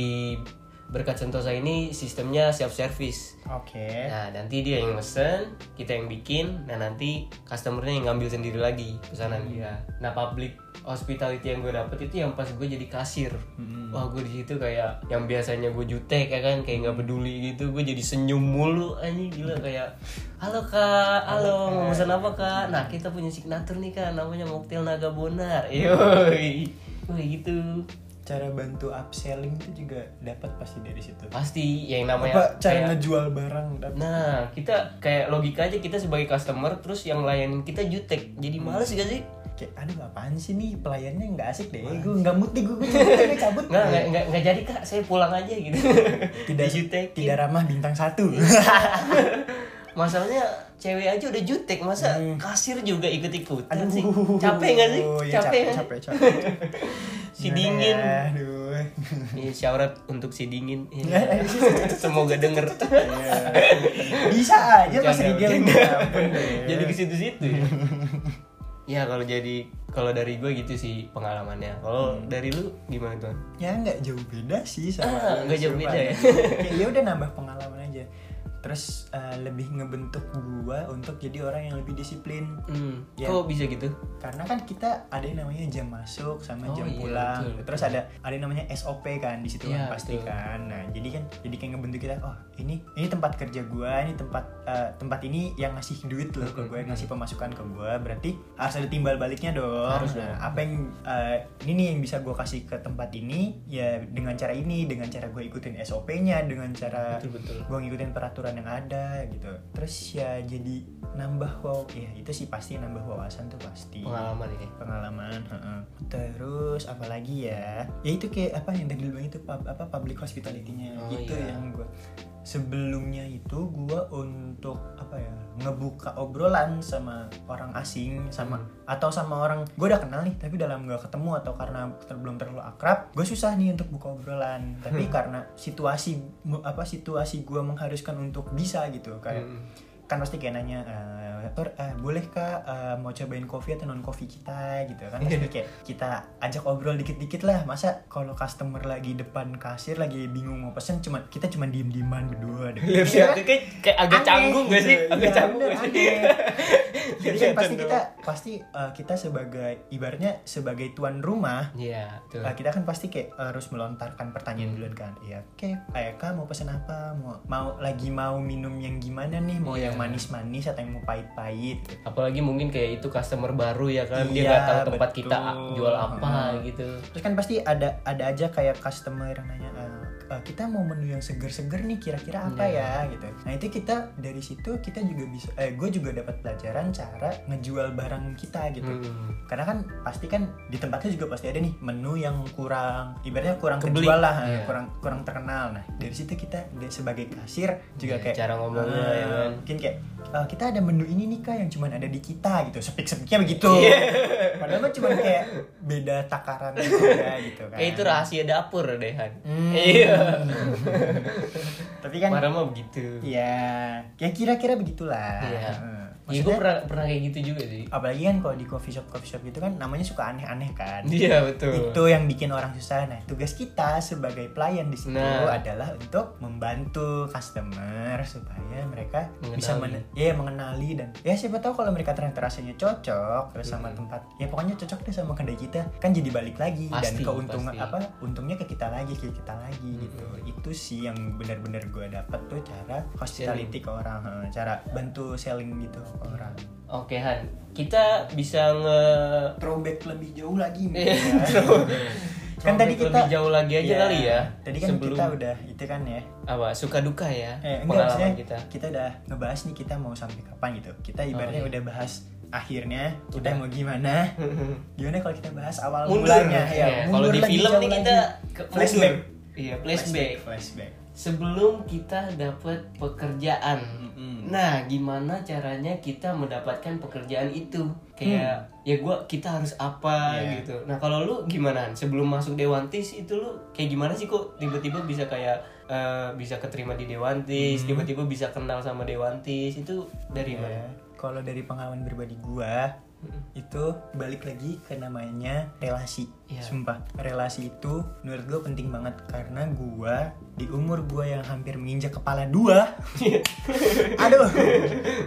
Speaker 1: berkat Sentosa ini sistemnya self service.
Speaker 2: Oke.
Speaker 1: Nah, nanti dia yang mesen, kita yang bikin, nah nanti customernya yang ngambil sendiri lagi pesanan dia. Nah, public hospitality yang gue dapet itu yang pas gue jadi kasir. Wah, gue di situ kayak yang biasanya gue jutek ya kan, kayak nggak peduli gitu, gue jadi senyum mulu anjing gila kayak Halo kak, Hmm. halo, mau pesan apa kak? Nah kita punya signatur nih kak, namanya Mocktail Naga Bonar Yoi, Wih gitu
Speaker 2: Cara bantu upselling itu juga dapat pasti dari situ.
Speaker 1: Pasti yang namanya
Speaker 2: Apa cara
Speaker 1: kayak-
Speaker 2: ngejual barang dapat?
Speaker 1: Nah, kita kayak logika aja kita sebagai customer terus yang lain kita jutek. Jadi
Speaker 2: Hmm.
Speaker 1: males gak sih?
Speaker 2: Kayak aduh apaan sih nih pelayannya nggak asik deh. Gue nggak mood nih, gue gue cabut, gue
Speaker 1: <laughs>
Speaker 2: cabut.
Speaker 1: Nggak, nggak, nggak, nggak jadi kak, saya pulang aja gitu.
Speaker 2: <laughs> Tidak
Speaker 1: Dijutekin. Iya,
Speaker 2: tidak ramah bintang satu.
Speaker 1: Masalahnya cewek aja udah jutek masa
Speaker 2: Hmm.
Speaker 1: kasir juga ikut ikutan
Speaker 2: <laughs> Aduh.
Speaker 1: sih capek nggak sih capek
Speaker 2: Iya, capek,
Speaker 1: nggak sih?
Speaker 2: capek, capek.
Speaker 1: si
Speaker 2: Gimana
Speaker 1: dingin
Speaker 2: ya? Aduh.
Speaker 1: ini syarat untuk si
Speaker 2: <laughs>
Speaker 1: dingin Ini. semoga denger
Speaker 2: Iya. Bisa aja Mas
Speaker 1: Bercanda,
Speaker 2: Rigel.
Speaker 1: bercanda.
Speaker 2: Ya ampun, deh.
Speaker 1: jadi ke situ-situ ya ya kalau jadi kalau dari gue gitu sih pengalamannya kalau
Speaker 2: Hmm.
Speaker 1: dari lu gimana tuh
Speaker 2: ya nggak jauh beda sih
Speaker 1: Ah,
Speaker 2: sama
Speaker 1: nggak jauh
Speaker 2: serupa
Speaker 1: beda ya.
Speaker 2: Kayak ya udah nambah pengalaman aja terus eh, lebih ngebentuk gua untuk jadi orang yang lebih disiplin
Speaker 1: hmm.
Speaker 2: Ya.
Speaker 1: kok bisa gitu
Speaker 2: karena kan kita ada yang namanya jam masuk
Speaker 1: Oh,
Speaker 2: sama jam
Speaker 1: iya,
Speaker 2: pulang
Speaker 1: betul, betul.
Speaker 2: terus ada ada yang namanya SOP kan di situ
Speaker 1: Iya,
Speaker 2: kan pasti
Speaker 1: betul.
Speaker 2: kan nah jadi kan jadi kayak ngebentuk kita oh ini ini tempat kerja gua ini tempat eh, tempat ini yang ngasih duit loh ke
Speaker 1: Mm-mm.
Speaker 2: gue ngasih pemasukan ke gua berarti harus ada timbal baliknya dong
Speaker 1: Harus dong.
Speaker 2: Nah, apa yang eh, ini nih yang bisa gua kasih ke tempat ini ya dengan cara ini dengan cara gue ikutin SOP-nya dengan cara
Speaker 1: betul betul
Speaker 2: gue ngikutin peraturan yang ada gitu terus ya jadi nambah wow ya itu sih pasti nambah wawasan tuh pasti
Speaker 1: pengalaman ini
Speaker 2: pengalaman heeh. ya. terus apalagi ya ya itu kayak apa yang tadi lu bilang itu pub- apa public hospitality-nya
Speaker 1: Oh,
Speaker 2: itu
Speaker 1: iya.
Speaker 2: yang gue sebelumnya itu gue untuk apa ya ngebuka obrolan sama orang asing sama atau sama orang gue udah kenal nih tapi dalam gak ketemu atau karena ter- belum terlalu akrab gue susah nih untuk buka obrolan tapi karena situasi apa situasi gue mengharuskan untuk bisa gitu kayak
Speaker 1: Hmm.
Speaker 2: kan pasti kayak nanya "Eh, Tor, eh, boleh kak eh, mau cobain kopi atau non kopi kita gitu kan
Speaker 1: Iya.
Speaker 2: pasti kayak kita ajak obrol dikit-dikit lah masa kalau customer lagi depan kasir lagi bingung mau pesen cuma kita cuma diem-dieman berdua deh
Speaker 1: <laughs> Lihat
Speaker 2: Iya
Speaker 1: siapa
Speaker 2: kan?
Speaker 1: kayak, kayak agak
Speaker 2: Aneh
Speaker 1: canggung gak
Speaker 2: gitu.
Speaker 1: sih? Agak
Speaker 2: Iya,
Speaker 1: canggung
Speaker 2: bener,
Speaker 1: gak sih? <laughs>
Speaker 2: aneh. jadi kan
Speaker 1: Kelihatan
Speaker 2: pasti
Speaker 1: dong.
Speaker 2: kita pasti eh, kita sebagai ibaratnya sebagai tuan rumah
Speaker 1: Iya, tuh.
Speaker 2: Nah, kita kan pasti kayak harus melontarkan pertanyaan duluan kan. Iya, oke. Kayak "Kak, mau pesen apa? Mau mau lagi mau minum yang gimana nih? Mau
Speaker 1: Iya.
Speaker 2: yang manis-manis atau yang mau pahit-pahit? gitu.
Speaker 1: Apalagi mungkin kayak itu customer baru ya kan, dia
Speaker 2: Iya,
Speaker 1: nggak tahu tempat
Speaker 2: betul.
Speaker 1: kita a- jual apa
Speaker 2: Hmm.
Speaker 1: gitu.
Speaker 2: Terus kan pasti ada ada aja kayak customer yang nanya, "Eh, eh, kita mau menu yang seger-seger nih, kira-kira apa ya gitu. Nah itu kita dari situ kita juga bisa, eh gue juga dapat pelajaran cara ngejual barang kita gitu.
Speaker 1: Hmm.
Speaker 2: Karena kan pasti kan di tempatnya juga pasti ada nih menu yang kurang, ibaratnya kurang
Speaker 1: Kebeli.
Speaker 2: terjual lah,
Speaker 1: Iya.
Speaker 2: kurang kurang terkenal. Nah dari situ kita de- sebagai kasir juga
Speaker 1: Iya,
Speaker 2: kayak
Speaker 1: cara ngomongnya,
Speaker 2: "Eh,
Speaker 1: ya kan?"
Speaker 2: mungkin kayak "Eh, kita ada menu ini nih kak yang cuma ada di kita gitu, sepik-sepiknya begitu.
Speaker 1: Iya.
Speaker 2: Padahal mah cuma kayak beda takaran aja gitu kan.
Speaker 1: Kayak itu rahasia dapur deh Han.
Speaker 2: Hmm.
Speaker 1: Iya.
Speaker 2: Tapi kan
Speaker 1: Marah mah begitu.
Speaker 2: ya, ya kira-kira begitulah.
Speaker 1: Iya.
Speaker 2: Heeh.
Speaker 1: Iya, gue pernah pernah kayak gitu juga sih.
Speaker 2: apalagi kan kalau di coffee shop coffee shop gitu kan namanya suka aneh-aneh kan.
Speaker 1: Iya betul.
Speaker 2: Itu yang bikin orang susah. Nah, tugas kita sebagai pelayan di situ
Speaker 1: Nah.
Speaker 2: adalah untuk membantu customer supaya mereka bisa
Speaker 1: Mengenali.
Speaker 2: men- ya, mengenali dan ya siapa tahu kalau mereka ternyata rasanya cocok terus sama
Speaker 1: Mm-mm.
Speaker 2: tempat ya pokoknya cocok deh sama kedai kita kan jadi balik lagi
Speaker 1: Pasti,
Speaker 2: dan keuntungan
Speaker 1: pasti. Hmm.
Speaker 2: apa untungnya ke kita lagi ke kita lagi gitu. Itu sih yang benar-benar gue dapet tuh cara hospitality ke orang, eh, cara bantu selling gitu ke orang.
Speaker 1: Oke Han, kita bisa nge
Speaker 2: Throwback lebih jauh
Speaker 1: <laughs>
Speaker 2: lagi
Speaker 1: Iya,
Speaker 2: mungkin ya.
Speaker 1: throw-
Speaker 2: kan
Speaker 1: throwback
Speaker 2: tadi kita
Speaker 1: lebih jauh lagi aja
Speaker 2: Iya.
Speaker 1: kali ya.
Speaker 2: Tadi kan
Speaker 1: sebelum
Speaker 2: kita udah itu kan ya.
Speaker 1: apa suka duka ya
Speaker 2: Eh, enggak, maksudnya
Speaker 1: pengalaman kita.
Speaker 2: kita udah ngebahas nih kita mau sampai kapan gitu. Kita ibaratnya
Speaker 1: iya.
Speaker 2: udah bahas akhirnya kita
Speaker 1: Udah.
Speaker 2: mau
Speaker 1: <laughs>
Speaker 2: gimana. Gimana kalau kita bahas awal
Speaker 1: Mundur.
Speaker 2: mulanya
Speaker 1: Iya, kalau di
Speaker 2: lagi
Speaker 1: film
Speaker 2: jauh
Speaker 1: nih
Speaker 2: lagi.
Speaker 1: kita ke-
Speaker 2: flashback.
Speaker 1: mundur. Iya, flashback.
Speaker 2: flashback.
Speaker 1: Sebelum kita dapat pekerjaan.
Speaker 2: Mm-mm.
Speaker 1: Nah, gimana caranya kita mendapatkan pekerjaan itu? Kayak ya gua kita harus apa
Speaker 2: Hmm. Iya.
Speaker 1: gitu. Nah, kalau lu gimana? Han? Sebelum masuk Dewantis itu lu kayak gimana sih kok tiba-tiba bisa kayak eh, bisa keterima di Dewantis,
Speaker 2: Hmm.
Speaker 1: tiba-tiba bisa kenal sama Dewantis itu dari mana?
Speaker 2: Ya, Kalau dari pengalaman pribadi gua itu balik lagi ke namanya relasi.
Speaker 1: Iya.
Speaker 2: Sumpah, relasi itu menurut gua penting banget karena gua di umur gua yang hampir menginjak kepala dua. aduh,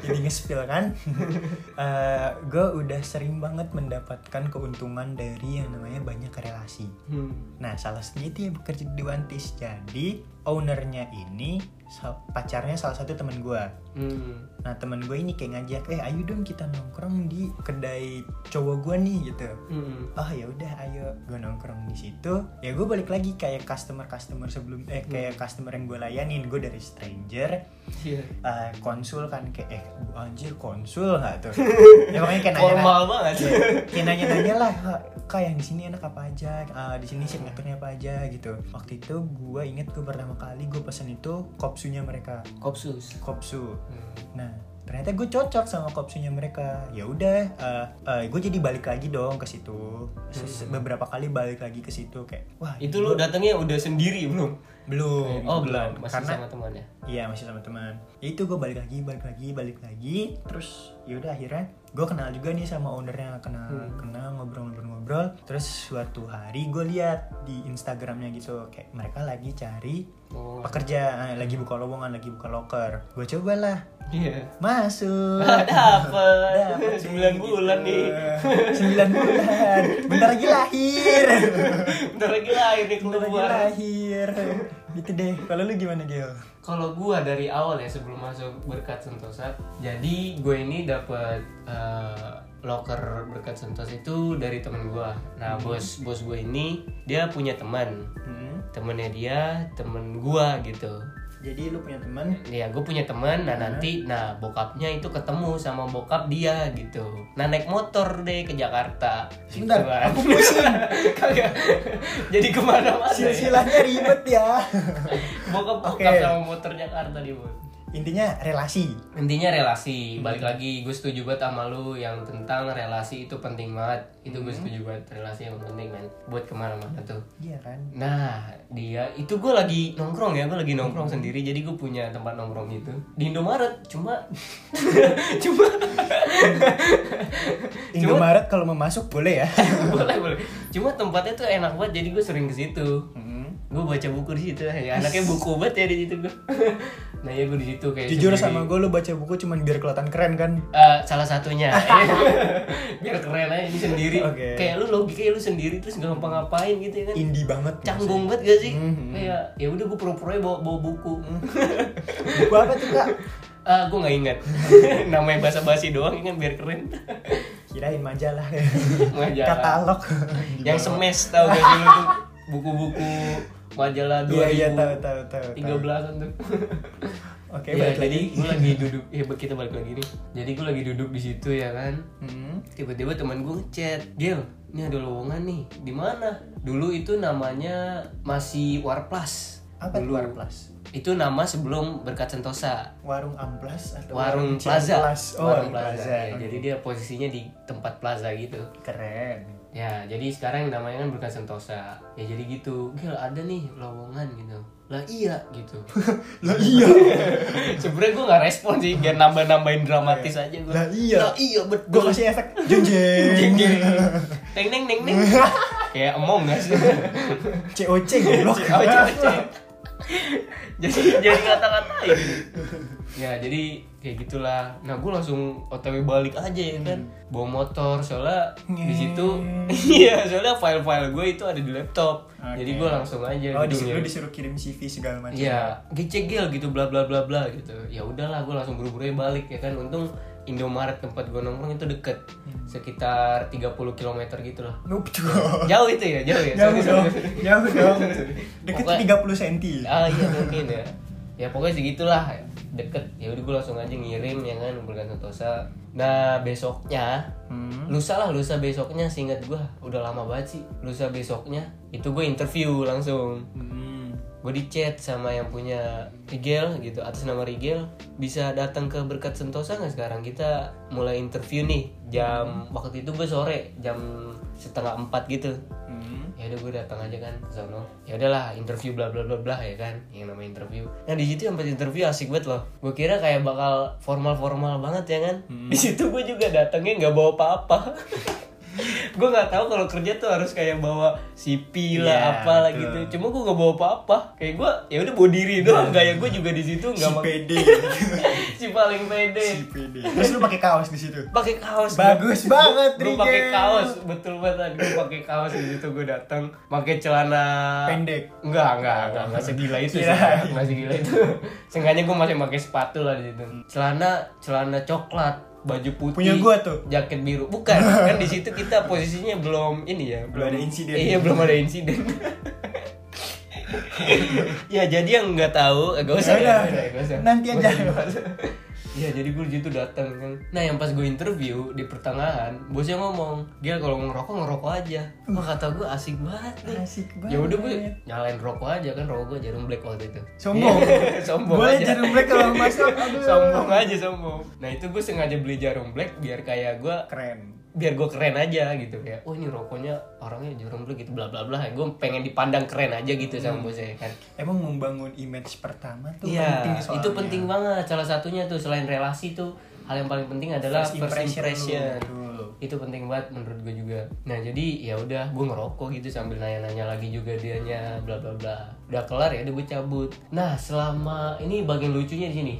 Speaker 2: jadi nge-spill kan. <laughs> Eh, gua udah sering banget mendapatkan keuntungan dari yang namanya banyak relasi.
Speaker 1: Hmm.
Speaker 2: Nah, salah satunya itu ya bekerja di Wantis. Jadi, ownernya ini sal- pacarnya salah satu temen gua.
Speaker 1: Hmm.
Speaker 2: Nah teman gue ini kayak ngajak, eh ayo dong kita nongkrong di kedai cowok gue nih gitu.
Speaker 1: Hmm.
Speaker 2: Oh ya udah ayo gue nongkrong di situ. Ya gue balik lagi kayak customer customer sebelum eh kayak customer yang gue layanin gue dari stranger
Speaker 1: Iya.
Speaker 2: eh, konsul kan kayak eh anjir konsul nggak tuh? ya pokoknya kayak nanya
Speaker 1: Formal banget sih.
Speaker 2: kayak nanya-nanya lah "Kak, kak yang di sini enak apa aja Eh, di sini signaturnya apa aja gitu waktu itu gue inget gue pertama kali gue pesen itu kopsunya mereka
Speaker 1: Kopsus.
Speaker 2: kopsu
Speaker 1: Hmm.
Speaker 2: Nah, ternyata gue cocok sama kopsunya mereka ya udah eh, eh, gue jadi balik lagi dong ke situ Se- beberapa kali balik lagi ke situ kayak wah
Speaker 1: Hmm. Itu lu datangnya udah sendiri belum?
Speaker 2: belum
Speaker 1: Oh belum,
Speaker 2: kebetulan.
Speaker 1: masih
Speaker 2: karena
Speaker 1: sama teman ya.
Speaker 2: Iya masih sama teman. Ya Itu gue balik lagi, balik lagi, balik lagi. Terus yaudah akhirnya gue kenal juga nih sama ownernya, kenal,
Speaker 1: Hmm.
Speaker 2: kenal ngobrol-ngobrol-ngobrol. Terus suatu hari gue lihat di Instagramnya gitu, kayak mereka lagi cari
Speaker 1: Oh,
Speaker 2: pekerja, eh, lagi buka lowongan, lagi buka loker. Gue cobalah
Speaker 1: iya. <laughs>
Speaker 2: masuk.
Speaker 1: Dapat
Speaker 2: Dapet
Speaker 1: <laughs> sembilan
Speaker 2: gitu.
Speaker 1: bulan nih.
Speaker 2: <laughs> Sembilan bulan. Bentar lagi
Speaker 1: <laughs>
Speaker 2: lahir.
Speaker 1: <laughs> Bentar lagi lahir nih
Speaker 2: Bentar lagi
Speaker 1: keluar.
Speaker 2: lahir. Gitu deh. Kalau lu gimana Gil?
Speaker 1: Kalau gua dari awal ya sebelum masuk berkat sentosa, jadi gue ini dapat eh, loker berkat sentosa itu dari temen gua. Nah bos bos gue ini dia punya teman,
Speaker 2: Hmm.
Speaker 1: temennya dia temen gua gitu.
Speaker 2: Jadi lu punya teman
Speaker 1: Ya gue punya teman,
Speaker 2: Iya.
Speaker 1: nah nanti nah bokapnya itu ketemu sama bokap dia gitu. Nah naik motor deh ke Jakarta. Gitu
Speaker 2: Sebentar,
Speaker 1: kan.
Speaker 2: aku pusing.
Speaker 1: <laughs> Kagak. Jadi kemana-mana. ya.
Speaker 2: Silsilahnya ribet ya. <laughs>
Speaker 1: Bokap bokap
Speaker 2: Oke.
Speaker 1: sama motor Jakarta nih Bun.
Speaker 2: Intinya relasi.
Speaker 1: intinya
Speaker 2: Iya,
Speaker 1: relasi balik lagi gue setuju banget sama lu yang tentang relasi itu penting banget itu gue
Speaker 2: Hmm.
Speaker 1: setuju banget relasi yang penting men buat kemana-mana tuh
Speaker 2: Iya kan?
Speaker 1: nah dia itu gue lagi nongkrong ya gue lagi nongkrong sendiri jadi gue punya tempat nongkrong gitu di Indomaret cuma <laughs> cuma
Speaker 2: Indomaret kalau mau masuk boleh ya.
Speaker 1: <laughs> boleh boleh cuma tempatnya tuh enak banget jadi gue sering ke situ
Speaker 2: Hmm.
Speaker 1: gue baca buku di situ ya anaknya buku banget ya di situ gue nah ya gue di situ kayak
Speaker 2: Jujur
Speaker 1: sendiri.
Speaker 2: sama gue lu baca buku cuman biar kelihatan keren kan?
Speaker 1: Eh, salah
Speaker 2: <laughs>
Speaker 1: satunya biar keren aja ini sendiri
Speaker 2: Oke.
Speaker 1: kayak lu logiknya lu sendiri terus nggak ngapa ngapain gitu ya kan
Speaker 2: Indie banget.
Speaker 1: canggung banget gak sih
Speaker 2: Mhm.
Speaker 1: kayak ya udah gue pura-pura aja bawa, bawa buku
Speaker 2: Buku apa tuh kak?
Speaker 1: Mm-hmm. ah gue nggak ingat <laughs> namanya bahasa basi doang ini kan biar keren <laughs>
Speaker 2: Kirain majalah.
Speaker 1: Majalah.
Speaker 2: Katalog. <laughs>
Speaker 1: yang semes tau gak sih lu tuh buku-buku majalah dua
Speaker 2: Iya iya tahu tahu tahu.
Speaker 1: tiga
Speaker 2: tahu.
Speaker 1: belasan <laughs> tuh
Speaker 2: Oke
Speaker 1: ya,
Speaker 2: balik lagi.
Speaker 1: jadi gue <laughs> lagi duduk ya kita balik lagi nih jadi gue lagi duduk di situ ya kan
Speaker 2: Hmm.
Speaker 1: tiba-tiba teman gue ngechat Gil ini ada lowongan nih di mana dulu itu namanya masih Warplas
Speaker 2: Apa tuh Warplas?
Speaker 1: itu nama sebelum berkat Sentosa
Speaker 2: Warung Amplas atau
Speaker 1: warung
Speaker 2: Cian
Speaker 1: plaza
Speaker 2: Plas? Oh, Hmm. warung plaza.
Speaker 1: ya.
Speaker 2: Oke.
Speaker 1: jadi dia posisinya di tempat plaza gitu
Speaker 2: keren.
Speaker 1: ya jadi sekarang yang namanya kan berkat Sentosa ya jadi gitu Gil ada nih lowongan gitu lah iya
Speaker 2: <laughs>
Speaker 1: gitu
Speaker 2: Lah
Speaker 1: <laughs>
Speaker 2: iya.
Speaker 1: sebenernya gue nggak respon sih biar nambah-nambahin dramatis aja gue
Speaker 2: Lah iya.
Speaker 1: lah iya
Speaker 2: gue
Speaker 1: betul
Speaker 2: kasih efek jeng
Speaker 1: Jeng,
Speaker 2: jeng <laughs>
Speaker 1: jeng. Neng neng neng neng. Kayak emong gak sih?
Speaker 2: COC
Speaker 1: <laughs>
Speaker 2: goblok
Speaker 1: Oh, cewek,
Speaker 2: <laughs>
Speaker 1: cewek. jadi jadi kata-katain. Ya jadi kayak gitulah. Nah gue langsung otw balik aja ya kan.
Speaker 2: Hmm.
Speaker 1: Bawa motor soalnya di situ. <laughs> Iya soalnya file-file gue itu ada di laptop.
Speaker 2: Oke.
Speaker 1: Jadi gue langsung aja.
Speaker 2: oh
Speaker 1: gitu
Speaker 2: disuruh
Speaker 1: nyari.
Speaker 2: disuruh kirim CV segala macam
Speaker 1: Iya, gecegil gitu bla bla bla bla gitu. Ya udahlah, gue langsung buru-buru balik ya kan. Untung Indomaret tempat gue nongkrong itu deket,
Speaker 2: Hmm.
Speaker 1: sekitar 30 km gitu lah.
Speaker 2: nope dong
Speaker 1: Jauh itu ya, jauh ya.
Speaker 2: Oh. <laughs> jauh
Speaker 1: Sorry, sorry,
Speaker 2: dong
Speaker 1: sorry. <laughs>
Speaker 2: jauh dong deket
Speaker 1: Pokoknya-
Speaker 2: 30 cm
Speaker 1: Ah iya mungkin ya. Ya pokoknya segitulah deket. Ya udah gue langsung aja ngirim ya kan bulan Sentosa. Nah besoknya
Speaker 2: Hmm.
Speaker 1: Lusa lah, lusa besoknya seingat gue Udah lama banget sih Lusa besoknya Itu gue interview langsung
Speaker 2: Hmm.
Speaker 1: gue di chat sama yang punya Rigel gitu atas nama Rigel bisa datang ke berkat Sentosa nggak sekarang kita mulai interview nih jam waktu itu gue sore jam setengah empat gitu
Speaker 2: Hmm.
Speaker 1: ya udah gue datang aja kan ke sono ya udahlah interview bla bla bla bla ya kan yang namanya interview nah di situ yang pas interview asik banget loh gue kira kayak bakal formal formal banget ya kan
Speaker 2: Hmm.
Speaker 1: di situ gue juga datangnya nggak bawa apa
Speaker 2: <laughs>
Speaker 1: apa gue nggak tahu kalau kerja tuh harus kayak bawa CP lah
Speaker 2: Iya,
Speaker 1: apalah
Speaker 2: betul. Iya.
Speaker 1: gitu cuma gue nggak bawa apa apa kayak gue ya udah bawa diri doang kayak gue juga di situ
Speaker 2: si
Speaker 1: nggak mak-
Speaker 2: PD
Speaker 1: <laughs> si paling
Speaker 2: si
Speaker 1: pede
Speaker 2: PD terus lu pakai kaos di situ
Speaker 1: pakai kaos
Speaker 2: Bagus banget,
Speaker 1: gue pakai
Speaker 2: Rigel.
Speaker 1: kaos betul banget gue pakai kaos di situ gue datang pakai celana
Speaker 2: Pendek.
Speaker 1: enggak enggak enggak enggak segila itu sih
Speaker 2: Kirain.
Speaker 1: enggak segila itu seenggaknya gue masih pakai sepatu lah di situ celana celana coklat baju putih
Speaker 2: Punya gua tuh.
Speaker 1: jaket biru bukan kan di situ kita posisinya belum ini ya
Speaker 2: Belum ada insiden.
Speaker 1: iya belum ada
Speaker 2: <laughs>
Speaker 1: insiden ya jadi yang nggak tahu eh, gak usah
Speaker 2: Ya udah,
Speaker 1: nggak usah.
Speaker 2: nanti aja.
Speaker 1: Nggak usah. Iya jadi gue itu datang kan. Nah yang pas gue interview di pertengahan bosnya ngomong dia kalau mau ngerokok ngerokok aja. Wah kata gue asik banget nih.
Speaker 2: Asik banget.
Speaker 1: Ya udah gue nyalain rokok aja kan rokok gue jarum black waktu itu.
Speaker 2: Sombong.
Speaker 1: <laughs> sombong
Speaker 2: Boleh
Speaker 1: aja.
Speaker 2: jarum black kalau masuk. Aduh.
Speaker 1: sombong aja sombong. Nah itu gue sengaja beli jarum black biar kayak gue
Speaker 2: Keren.
Speaker 1: biar gue keren aja gitu kayak oh ini rokoknya orangnya jarum black gitu bla bla bla gue pengen dipandang keren aja gitu
Speaker 2: Hmm.
Speaker 1: sama bosnya kan
Speaker 2: Emang membangun image pertama tuh
Speaker 1: Iya,
Speaker 2: penting soalnya.
Speaker 1: itu penting banget. Salah satunya tuh selain relasi tuh hal yang paling penting adalah
Speaker 2: First
Speaker 1: first impression.
Speaker 2: impression dulu. Betul.
Speaker 1: Itu penting banget menurut gue juga. Nah jadi ya udah gue ngerokok gitu sambil nanya-nanya lagi juga dianya bla bla bla. Udah kelar ya, udah gue cabut. Nah selama ini bagian lucunya di
Speaker 2: <laughs>
Speaker 1: sini.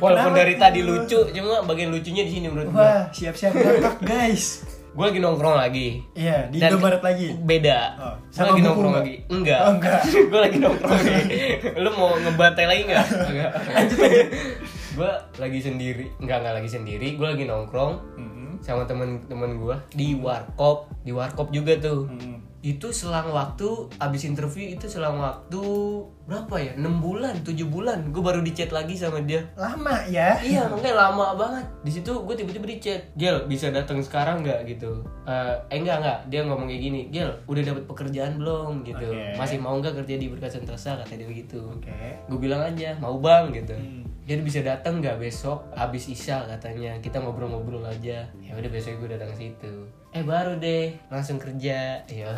Speaker 1: Walaupun
Speaker 2: Kenapa
Speaker 1: dari tadi
Speaker 2: tuh?
Speaker 1: lucu, cuma bagian lucunya di sini menurut gue.
Speaker 2: Wah, siap-siap
Speaker 1: <laughs>
Speaker 2: ngakak guys.
Speaker 1: Gue lagi nongkrong lagi.
Speaker 2: Iya, di
Speaker 1: Dan-
Speaker 2: Indomaret lagi.
Speaker 1: Beda.
Speaker 2: Oh,
Speaker 1: Gua
Speaker 2: sama
Speaker 1: lagi
Speaker 2: buku
Speaker 1: nongkrong
Speaker 2: nggak?
Speaker 1: lagi. Enggak.
Speaker 2: Oh,
Speaker 1: <laughs>
Speaker 2: enggak.
Speaker 1: gue lagi nongkrong lagi. Lu mau ngebantai lagi enggak?
Speaker 2: <laughs>
Speaker 1: Enggak. gue lagi sendiri. Enggak, enggak lagi sendiri. Gue lagi nongkrong
Speaker 2: Mhm.
Speaker 1: sama temen-temen gue di warkop. Di warkop juga tuh.
Speaker 2: Mhm.
Speaker 1: Itu selang waktu abis interview itu selang waktu berapa ya? 6 bulan, 7 bulan. Gue baru di chat lagi sama dia.
Speaker 2: Lama ya.
Speaker 1: Iya, makanya lama banget. Di situ gue tiba-tiba di chat, Gel bisa datang sekarang nggak gitu? Eh, eh enggak enggak, dia ngomong kayak gini, Gel udah dapat pekerjaan belum gitu?
Speaker 2: Oke.
Speaker 1: Masih mau nggak kerja di Berkas Sentosa kata dia begitu.
Speaker 2: Oke.
Speaker 1: Gue bilang aja mau bang gitu.
Speaker 2: Hmm.
Speaker 1: Dia bisa datang nggak besok abis isya katanya kita ngobrol-ngobrol aja. Ya udah besok gue datang situ. Eh baru deh langsung kerja. Ya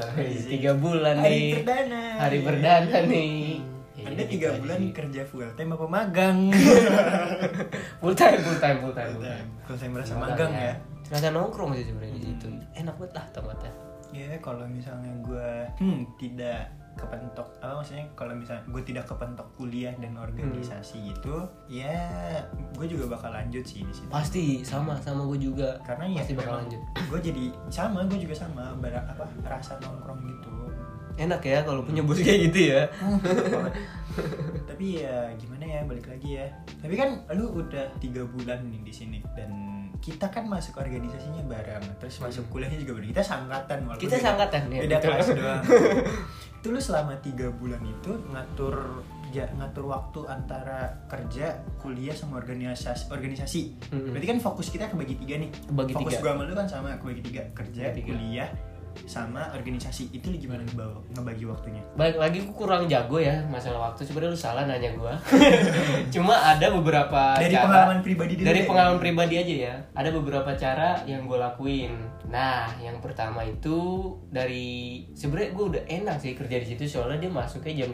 Speaker 1: tiga bulan
Speaker 2: Hari
Speaker 1: nih.
Speaker 2: perdana. Hmm.
Speaker 1: Hari perdana nih. Ya,
Speaker 2: Anda
Speaker 1: jadi
Speaker 2: tiga
Speaker 1: gitu
Speaker 2: bulan
Speaker 1: aja.
Speaker 2: kerja full time apa
Speaker 1: <laughs>
Speaker 2: magang?
Speaker 1: full time full time full time. Full time.
Speaker 2: full time merasa magang ya. Hmm.
Speaker 1: Terasa nongkrong sih sebenarnya di situ. Enak banget lah tempatnya.
Speaker 2: Ya kalau misalnya gue hmm, tidak kepentok apa maksudnya kalau misalnya gue tidak kepentok kuliah dan organisasi
Speaker 1: Hmm.
Speaker 2: gitu ya gue juga bakal lanjut sih di situ
Speaker 1: Pasti sama sama gue juga.
Speaker 2: karena ya
Speaker 1: pasti bakal lanjut.
Speaker 2: gue jadi sama gue juga sama bara, apa rasa nongkrong
Speaker 1: <laughs>
Speaker 2: gitu
Speaker 1: Enak ya kalau punya
Speaker 2: Hmm.
Speaker 1: bos kayak gitu ya.
Speaker 2: tapi ya gimana ya balik lagi ya tapi kan lu udah tiga bulan nih di sini dan kita kan masuk organisasinya bareng terus masuk kuliahnya juga bareng kita sangkatan walaupun
Speaker 1: Hmm. Kita
Speaker 2: beda-
Speaker 1: sangkatan, ya,
Speaker 2: beda
Speaker 1: betul. <laughs>
Speaker 2: kelas doang itu lu selama tiga bulan itu ngatur ya, ngatur waktu antara kerja kuliah sama organisasi organisasi
Speaker 1: Mm-mm.
Speaker 2: berarti kan fokus kita kebagi tiga nih
Speaker 1: Kebagi
Speaker 2: fokus
Speaker 1: tiga.
Speaker 2: gua sama lu kan sama kebagi tiga kerja
Speaker 1: Kebagi tiga.
Speaker 2: kuliah sama organisasi itu lu gimana ngebawa ngebagi waktunya
Speaker 1: Balik lagi gue kurang jago ya masalah waktu. Sebenarnya lu salah nanya gue.
Speaker 2: <laughs>
Speaker 1: Cuma ada beberapa
Speaker 2: Dari
Speaker 1: cara-
Speaker 2: pengalaman pribadi dulu
Speaker 1: Dari
Speaker 2: deh.
Speaker 1: pengalaman pribadi aja ya. Ada beberapa cara yang gue lakuin. Nah, yang pertama itu dari sebenarnya gue udah enak sih kerja di situ soalnya dia masuknya jam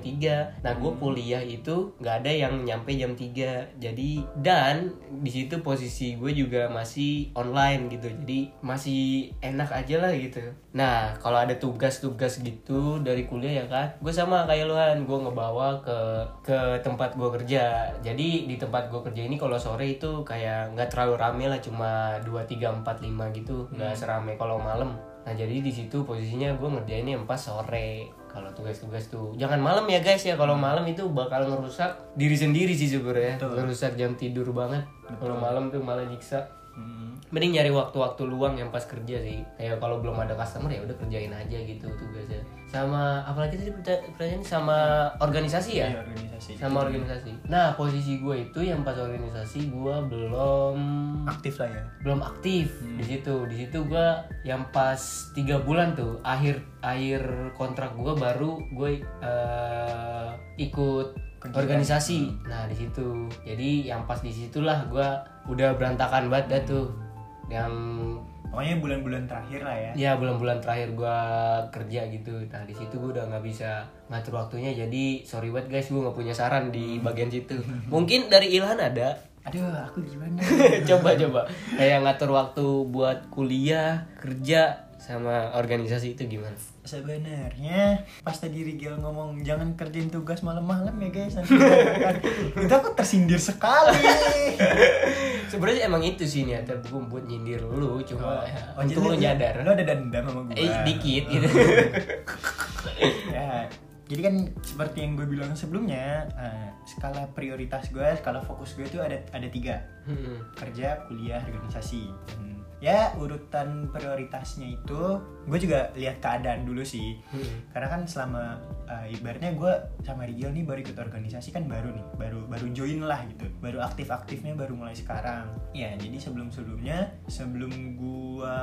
Speaker 1: 3. Nah,
Speaker 2: Hmm.
Speaker 1: gue kuliah itu nggak ada yang nyampe jam 3. Jadi dan di situ posisi gue juga masih online gitu. Jadi masih enak aja lah gitu. Nah, kalau ada tugas-tugas gitu dari kuliah ya kan, gue sama kayak luan, gue ngebawa ke ke tempat gue kerja. Jadi di tempat gue kerja ini kalau sore itu kayak nggak terlalu rame lah, cuma 2, 3, 4, 5 gitu, nggak serame kalau malam. Nah jadi di situ posisinya gue ngerjainnya pas sore kalau tugas-tugas tuh jangan malam ya guys ya kalau malam itu bakal ngerusak diri sendiri sih sebenarnya ngerusak jam tidur banget kalau malam tuh malah nyiksa
Speaker 2: Hmm,
Speaker 1: mending nyari waktu-waktu luang yang pas kerja sih kayak kalau belum ada customer ya udah kerjain aja gitu tugasnya sama apalagi tadi perta- pertanyaan sama organisasi ya
Speaker 2: Iya, organisasi
Speaker 1: sama organisasi nah posisi gue itu yang pas organisasi gue belum
Speaker 2: aktif lah ya
Speaker 1: belum aktif di situ di situ gue yang pas tiga bulan tuh akhir akhir kontrak gue baru gue eh, ikut organisasi nah di situ jadi yang pas di situlah gue udah berantakan banget dah tuh yang
Speaker 2: pokoknya bulan-bulan terakhir lah ya
Speaker 1: ya bulan-bulan terakhir gue kerja gitu nah di situ gue udah nggak bisa ngatur waktunya jadi sorry banget guys gue nggak punya saran di bagian situ mungkin dari Ilhan ada
Speaker 2: aduh aku gimana
Speaker 1: <laughs> coba coba kayak ngatur waktu buat kuliah kerja sama organisasi itu gimana
Speaker 2: sebenarnya pas tadi Rigel ngomong jangan kerjain tugas malam-malam ya guys
Speaker 1: <laughs>
Speaker 2: nanti berantakan." itu aku tersindir sekali
Speaker 1: sebenarnya emang itu sih niatnya gue buat nyindir lu cuma ya,
Speaker 2: Oh, jadi
Speaker 1: untung lu nyadar
Speaker 2: lu ada dendam sama gue
Speaker 1: eh dikit
Speaker 2: <laughs>
Speaker 1: gitu
Speaker 2: ya jadi kan seperti yang gue bilang sebelumnya eh, skala prioritas gue skala fokus gue itu ada ada tiga
Speaker 1: Hmm.
Speaker 2: kerja kuliah organisasi Dan ya urutan prioritasnya itu gue juga lihat keadaan dulu sih
Speaker 1: hmm.
Speaker 2: karena kan selama uh, ibaratnya gue sama Rigel nih baru ikut organisasi kan baru nih baru baru join lah gitu baru aktif aktifnya baru mulai sekarang ya jadi sebelum sebelumnya sebelum gue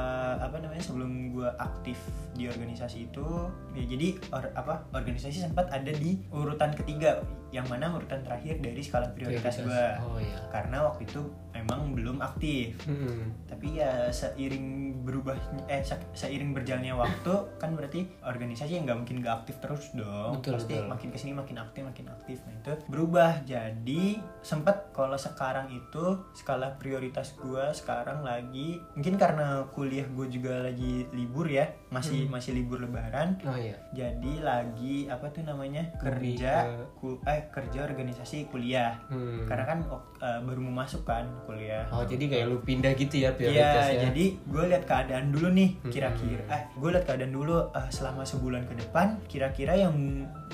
Speaker 2: apa namanya sebelum gue aktif di organisasi itu ya jadi or- apa organisasi sempat ada di urutan ketiga yang mana urutan terakhir dari skala prioritas, gue
Speaker 1: oh ya
Speaker 2: karena waktu itu memang belum aktif
Speaker 1: Hmm.
Speaker 2: tapi ya seiring berubah eh se- seiring berjalannya waktu kan berarti organisasi yang nggak mungkin nggak aktif terus dong
Speaker 1: Betul,
Speaker 2: pasti
Speaker 1: betul.
Speaker 2: makin kesini makin aktif makin aktif nah itu berubah jadi sempat kalau sekarang itu skala prioritas gua sekarang lagi mungkin karena kuliah gue juga lagi libur ya masih
Speaker 1: Hmm.
Speaker 2: masih libur lebaran
Speaker 1: oh ya
Speaker 2: jadi lagi apa tuh namanya
Speaker 1: Lebih
Speaker 2: kerja
Speaker 1: ke-
Speaker 2: ku- eh kerja organisasi kuliah
Speaker 1: Hmm.
Speaker 2: karena kan wak- eh, baru mau masuk kan kuliah
Speaker 1: oh jadi kayak lu pindah gitu ya prioritasnya
Speaker 2: Iya, jadi gue lihat keadaan dulu nih, kira-kira. Eh, gue lihat keadaan dulu eh, selama sebulan ke depan, kira-kira yang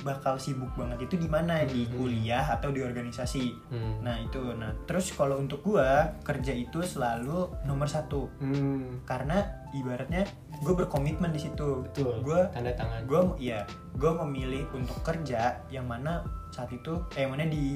Speaker 2: bakal sibuk banget itu di mana di kuliah atau di organisasi.
Speaker 1: Hmm.
Speaker 2: Nah itu, nah terus kalau untuk gue kerja itu selalu nomor satu
Speaker 1: Hmm,
Speaker 2: karena ibaratnya gue berkomitmen di situ.
Speaker 1: betul
Speaker 2: Gue
Speaker 1: tanda tangan
Speaker 2: gue ya gue memilih untuk kerja yang mana saat itu eh yang mana di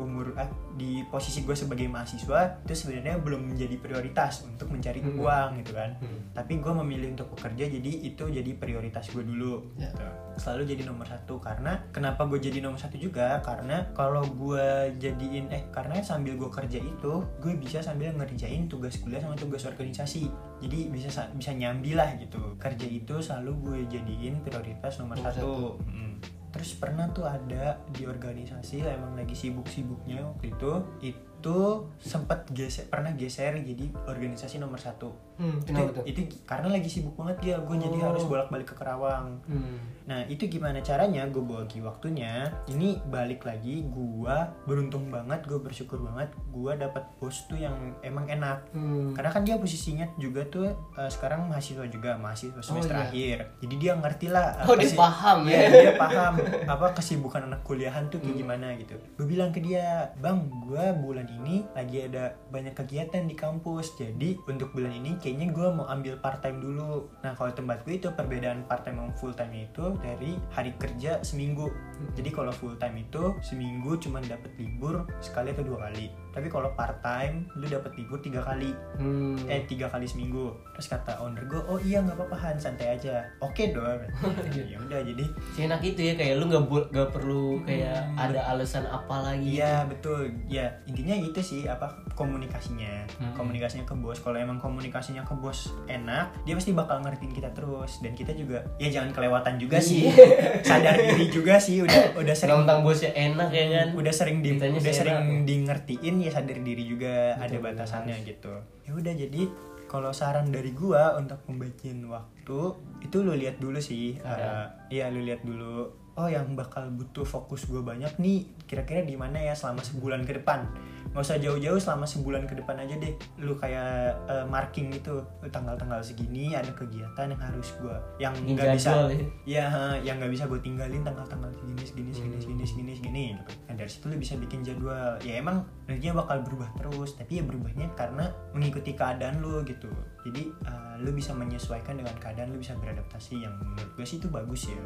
Speaker 2: umur ah, di posisi gue sebagai mahasiswa itu sebenarnya belum menjadi prioritas untuk mencari
Speaker 1: Hmm.
Speaker 2: uang gitu kan
Speaker 1: Hmm.
Speaker 2: tapi gue memilih untuk bekerja jadi itu jadi prioritas gue dulu
Speaker 1: Ya.
Speaker 2: gitu. selalu jadi nomor satu karena kenapa gue jadi nomor satu juga karena kalau gue jadiin eh karena sambil gue kerja itu gue bisa sambil ngerjain tugas kuliah sama tugas organisasi jadi bisa sa- bisa nyambi lah gitu kerja itu selalu gue jadiin prioritas nomor,
Speaker 1: Nomor
Speaker 2: satu, Mm. terus pernah tuh ada di organisasi emang lagi sibuk-sibuknya waktu itu itu sempat geser pernah geser jadi organisasi nomor satu
Speaker 1: Hmm,
Speaker 2: itu,
Speaker 1: kenapa tuh
Speaker 2: itu karena lagi sibuk banget dia gue jadi
Speaker 1: Oh.
Speaker 2: harus bolak-balik ke Karawang
Speaker 1: Hmm.
Speaker 2: nah itu gimana caranya gue bagi waktunya ini balik lagi gue beruntung banget gue bersyukur banget gue dapat bos tuh yang emang enak
Speaker 1: Hmm.
Speaker 2: karena kan dia posisinya juga tuh eh, sekarang mahasiswa juga mahasiswa semester
Speaker 1: iya.
Speaker 2: akhir jadi dia ngerti lah eh,
Speaker 1: oh dia
Speaker 2: kesi-
Speaker 1: paham
Speaker 2: Iya,
Speaker 1: ya
Speaker 2: dia <laughs> paham apa kesibukan anak kuliahan tuh kayak gimana gitu. Gue bilang ke dia, "Bang, gue bulan ini lagi ada banyak kegiatan di kampus. Jadi, untuk bulan ini kayaknya gue mau ambil part time dulu." Nah, kalau tempat gue itu perbedaan part time sama full time itu dari hari kerja seminggu.
Speaker 1: Hmm.
Speaker 2: Jadi, kalau full time itu seminggu cuman dapat libur sekali atau dua kali. Tapi kalau part time lu dapat libur tiga kali
Speaker 1: Hmm.
Speaker 2: eh tiga kali seminggu terus kata owner gue oh iya nggak apa-apa Han santai aja oke dong <laughs> ya udah jadi
Speaker 1: Seenak itu ya kayak lu nggak bu- nggak perlu kayak
Speaker 2: Hmm.
Speaker 1: ada alasan apa lagi gitu.
Speaker 2: Iya betul. Ya intinya itu sih apa komunikasinya,
Speaker 1: Hmm.
Speaker 2: komunikasinya ke bos. Kalau emang komunikasinya ke bos enak, dia pasti bakal ngertiin kita terus. Dan kita juga ya jangan kelewatan juga sih,
Speaker 1: Iya.
Speaker 2: sadar diri juga sih. Udah udah sering
Speaker 1: Tentang bosnya enak ya kan
Speaker 2: Hmm, udah sering di
Speaker 1: Kitanya
Speaker 2: udah
Speaker 1: sih
Speaker 2: sering
Speaker 1: enak.
Speaker 2: di ngertiin ya sadar diri juga ada
Speaker 1: Betul,
Speaker 2: batasannya gitu ya udah jadi kalau saran dari gua untuk membagiin waktu itu lu lihat dulu sih
Speaker 1: Ada.
Speaker 2: eh, iya lu lihat dulu oh yang bakal butuh fokus gua banyak nih kira-kira di mana ya selama sebulan ke depan nggak usah jauh-jauh selama sebulan ke depan aja deh lu kayak eh, marking gitu tanggal-tanggal segini ada kegiatan yang harus gua yang
Speaker 1: Ini
Speaker 2: nggak bisa
Speaker 1: jadwal ya.
Speaker 2: ya ha, yang nggak bisa gue tinggalin tanggal-tanggal segini segini segini
Speaker 1: Hmm.
Speaker 2: segini segini segini gitu. Nah, dari situ lu bisa bikin jadwal ya emang energinya bakal berubah terus tapi ya berubahnya karena mengikuti keadaan lu gitu jadi eh, lu bisa menyesuaikan dengan keadaan lu bisa beradaptasi yang menurut gue sih itu bagus ya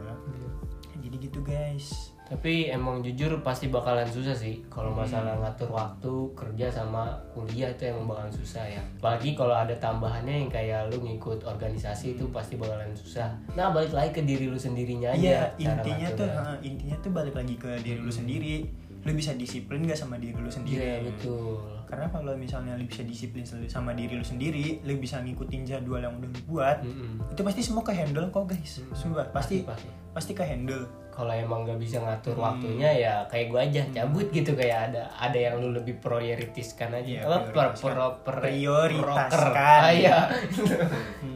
Speaker 2: jadi gitu guys
Speaker 1: Tapi emang jujur pasti bakalan susah sih kalau
Speaker 2: Hmm.
Speaker 1: masalah ngatur waktu kerja sama kuliah itu emang bakalan susah ya. Apalagi kalau ada tambahannya yang kayak lu ngikut organisasi itu pasti bakalan susah. Nah balik lagi ke diri lu sendirinya aja.
Speaker 2: Iya
Speaker 1: cara
Speaker 2: intinya tuh
Speaker 1: ngaturnya.
Speaker 2: ha, intinya tuh balik lagi ke diri lu sendiri lu bisa disiplin gak sama diri lu sendiri
Speaker 1: Iya betul.
Speaker 2: karena kalau misalnya lu bisa disiplin sel- sama diri lu sendiri lu bisa ngikutin jadwal yang udah dibuat
Speaker 1: Mm-mm.
Speaker 2: itu pasti semua ke handle kok guys sumpah pasti
Speaker 1: pasti.
Speaker 2: pasti ke handle
Speaker 1: Kalau emang nggak bisa ngatur
Speaker 2: Hmm.
Speaker 1: waktunya ya kayak gua aja cabut gitu kayak ada ada yang lu lebih prioritaskan aja.
Speaker 2: Iya,
Speaker 1: Apa per, per, per-
Speaker 2: Prioritaskan. Hmm.
Speaker 1: proker. Ah, iya.